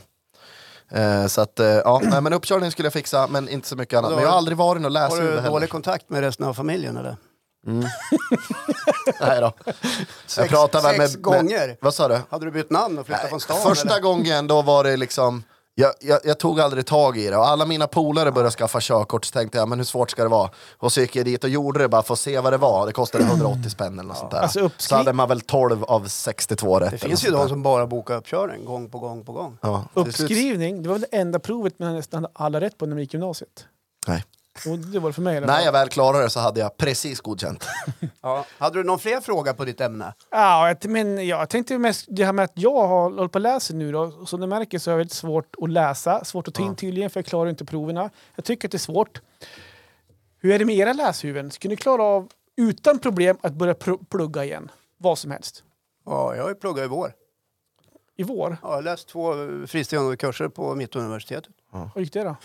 [SPEAKER 3] det. Eh, så att, eh, ja, nej, men uppkörningen skulle jag fixa, men inte så mycket annat.
[SPEAKER 1] Då-
[SPEAKER 3] Men jag har aldrig varit och läst
[SPEAKER 1] Har
[SPEAKER 3] ur det
[SPEAKER 1] du
[SPEAKER 3] heller.
[SPEAKER 1] dålig kontakt med resten av familjen eller?
[SPEAKER 3] Nej då.
[SPEAKER 1] Sex- sex gånger.
[SPEAKER 3] Vad sa du?
[SPEAKER 1] Hade du bytt namn och flyttat från stan?
[SPEAKER 3] Första
[SPEAKER 1] eller?
[SPEAKER 3] gången då var det liksom, jag, jag, jag tog aldrig tag i det och alla mina polare började skaffa körkort så tänkte jag, men hur svårt ska det vara? Och så gick jag dit och gjorde det bara för att se vad det var. Det kostade
[SPEAKER 1] Mm.
[SPEAKER 3] 180 spänn eller något sånt där.
[SPEAKER 2] Alltså, uppskri-
[SPEAKER 3] så hade man väl 12 av 62 rätt.
[SPEAKER 1] Det
[SPEAKER 3] eller något
[SPEAKER 1] finns ju
[SPEAKER 3] sånt
[SPEAKER 1] de
[SPEAKER 3] där.
[SPEAKER 1] som bara bokar uppkörning gång på gång på gång.
[SPEAKER 3] Ja, till slut-
[SPEAKER 2] Uppskrivning, det var väl det enda provet man nästan hade alla rätt på när man gick gymnasiet.
[SPEAKER 3] Nej.
[SPEAKER 2] Jo, det var det för mig. Eller?
[SPEAKER 3] När jag väl klarade det så hade jag precis godkänt.
[SPEAKER 1] Ja. Hade du någon fler fråga på ditt ämne?
[SPEAKER 2] Ja, jag t- men jag tänkte mest det här med att jag har hållit på och läser nu då. Som ni märker så är det väldigt svårt att läsa, svårt att ta in tydligen för jag klarar inte proverna. Jag tycker att det är svårt. Hur är det med era läshuvuden? Skulle ni klara av utan problem att börja pr- plugga igen? Vad som helst?
[SPEAKER 1] Ja, jag har ju pluggat i vår.
[SPEAKER 2] I vår?
[SPEAKER 1] Ja, jag har läst två eh, fristående kurser på Mittuniversitetet.
[SPEAKER 2] Hur gick det då?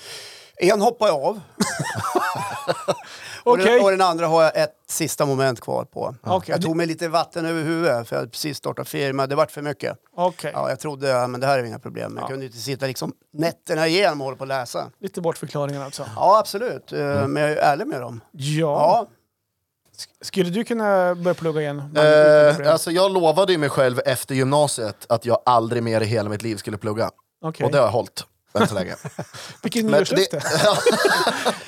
[SPEAKER 1] En hoppar jag av och,
[SPEAKER 2] Okej.
[SPEAKER 1] den, och den andra har jag ett sista moment kvar på.
[SPEAKER 2] Okej.
[SPEAKER 1] Jag tog mig lite vatten över huvudet för jag hade precis startat firma. Det vart för mycket.
[SPEAKER 2] Okej.
[SPEAKER 1] Ja, jag trodde ja, men det här är inga problem. Jag kunde inte sitta liksom nätterna igenom och hålla på och läsa.
[SPEAKER 2] Lite bortförklaringar alltså.
[SPEAKER 1] Ja, absolut. Eh,
[SPEAKER 2] Mm.
[SPEAKER 1] Men jag är ju ärlig med dem.
[SPEAKER 2] Ja.
[SPEAKER 1] Ja,
[SPEAKER 2] Sk- Skulle du kunna börja plugga igen? Magnus, utan problem?
[SPEAKER 3] Eh, alltså jag lovade ju mig själv efter gymnasiet att jag aldrig mer i hela mitt liv skulle plugga.
[SPEAKER 2] Okej.
[SPEAKER 3] Och det har jag hållit än så länge.
[SPEAKER 2] Vilket
[SPEAKER 3] Men
[SPEAKER 2] nyårslöfte!
[SPEAKER 3] det-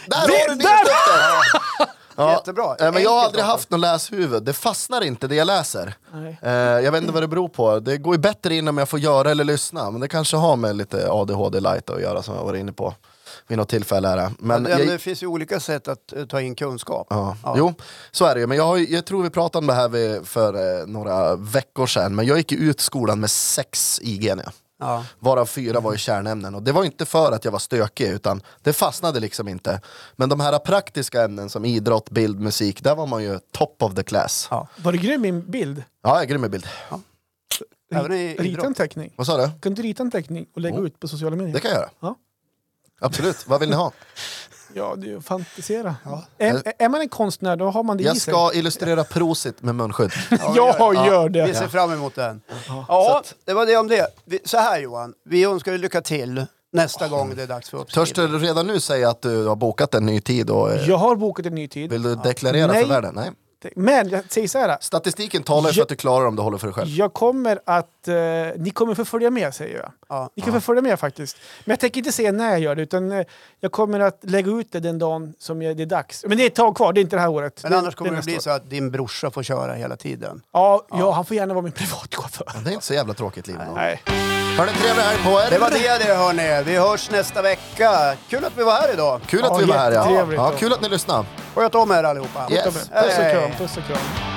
[SPEAKER 3] Där har
[SPEAKER 1] Äh,
[SPEAKER 2] Det- där-
[SPEAKER 3] du nyårslöftet! Ja.
[SPEAKER 1] jättebra.
[SPEAKER 3] Eh, Men jag har
[SPEAKER 1] Enkelt
[SPEAKER 3] aldrig
[SPEAKER 1] alltså.
[SPEAKER 3] haft något läshuvud. Det fastnar inte det jag läser.
[SPEAKER 2] Nej.
[SPEAKER 3] Eh, jag vet inte vad det beror på. Det går ju bättre in om jag får göra eller lyssna. Men det kanske har med lite ADHD light att göra som jag var inne på vid något tillfälle. Här. Men
[SPEAKER 1] Men
[SPEAKER 3] jag,
[SPEAKER 1] det finns ju olika sätt att eh, ta in kunskap.
[SPEAKER 3] Ja. Jo, så är det ju. Men jag, har, ju- jag tror vi pratade om det här vid, för eh, några veckor sedan. Men jag gick ju ut skolan med sex IG när jag-
[SPEAKER 1] Ja.
[SPEAKER 3] Varav fyra var i kärnämnen. Och det var inte för att jag var stökig, utan det fastnade liksom inte. Men de här praktiska ämnen som idrott, bild, musik, där var man ju top of the class.
[SPEAKER 1] Ja.
[SPEAKER 3] Ja,
[SPEAKER 2] Var det grym i min bild?
[SPEAKER 3] jag är grym i bild.
[SPEAKER 1] Även i
[SPEAKER 2] Rita en
[SPEAKER 1] idrott.
[SPEAKER 2] teckning.
[SPEAKER 3] Vad sa du?
[SPEAKER 2] Kan du rita en teckning och lägga ut på sociala medier?
[SPEAKER 3] Det kan jag göra.
[SPEAKER 2] Ja.
[SPEAKER 3] Absolut, vad vill ni ha?
[SPEAKER 2] Ja, det är ju att fantisera. Är, är man en konstnär då har man det i
[SPEAKER 3] Jag
[SPEAKER 2] sig.
[SPEAKER 3] ska illustrera prosit med munskydd.
[SPEAKER 2] jag
[SPEAKER 1] Ja,
[SPEAKER 2] gör
[SPEAKER 1] Vi ser
[SPEAKER 2] det!
[SPEAKER 1] fram emot den. Ja, det var det om det. Vi, så här Johan, vi önskar dig lycka till nästa gång det är dags för
[SPEAKER 3] Törs
[SPEAKER 1] uppskrivning.
[SPEAKER 3] du redan nu säga att du har bokat en ny tid? Och, eh,
[SPEAKER 2] Jag har bokat en ny tid.
[SPEAKER 3] vill du deklarera
[SPEAKER 2] Nej.
[SPEAKER 3] för världen? Nej.
[SPEAKER 2] Men jag säger så här.
[SPEAKER 3] Statistiken talar ju för
[SPEAKER 2] Ja.
[SPEAKER 3] att du klarar om du håller för dig själv.
[SPEAKER 2] Jag kommer att... Eh, ni kommer förfölja med säger jag.
[SPEAKER 1] Ja.
[SPEAKER 2] Ni kan förfölja med faktiskt. Men jag tänker inte säga när jag gör det utan eh, jag kommer att lägga ut det den dagen som jag, det är dags. Men det är ett tag kvar, det är inte det här året.
[SPEAKER 1] Men
[SPEAKER 2] det,
[SPEAKER 1] annars kommer det
[SPEAKER 2] nästa
[SPEAKER 1] bli
[SPEAKER 2] år.
[SPEAKER 1] så att din brorsa får köra hela tiden.
[SPEAKER 2] Ja, ja. han får gärna vara min privatchaufför.
[SPEAKER 3] Det är inte så jävla tråkigt liv. ändå.
[SPEAKER 2] Nej.
[SPEAKER 3] Ha en trevlig helg på
[SPEAKER 1] Det var
[SPEAKER 3] er!
[SPEAKER 1] det det hörni. Vi hörs nästa vecka. Kul att vi var här idag.
[SPEAKER 3] Kul att
[SPEAKER 2] Ja,
[SPEAKER 3] vi var här ja.
[SPEAKER 2] jättetrevligt.
[SPEAKER 3] ja. Kul att ni lyssnade.
[SPEAKER 1] Sköt om er allihopa.
[SPEAKER 3] Yes.
[SPEAKER 2] Puss och kram,
[SPEAKER 1] Hej.
[SPEAKER 2] puss och kram.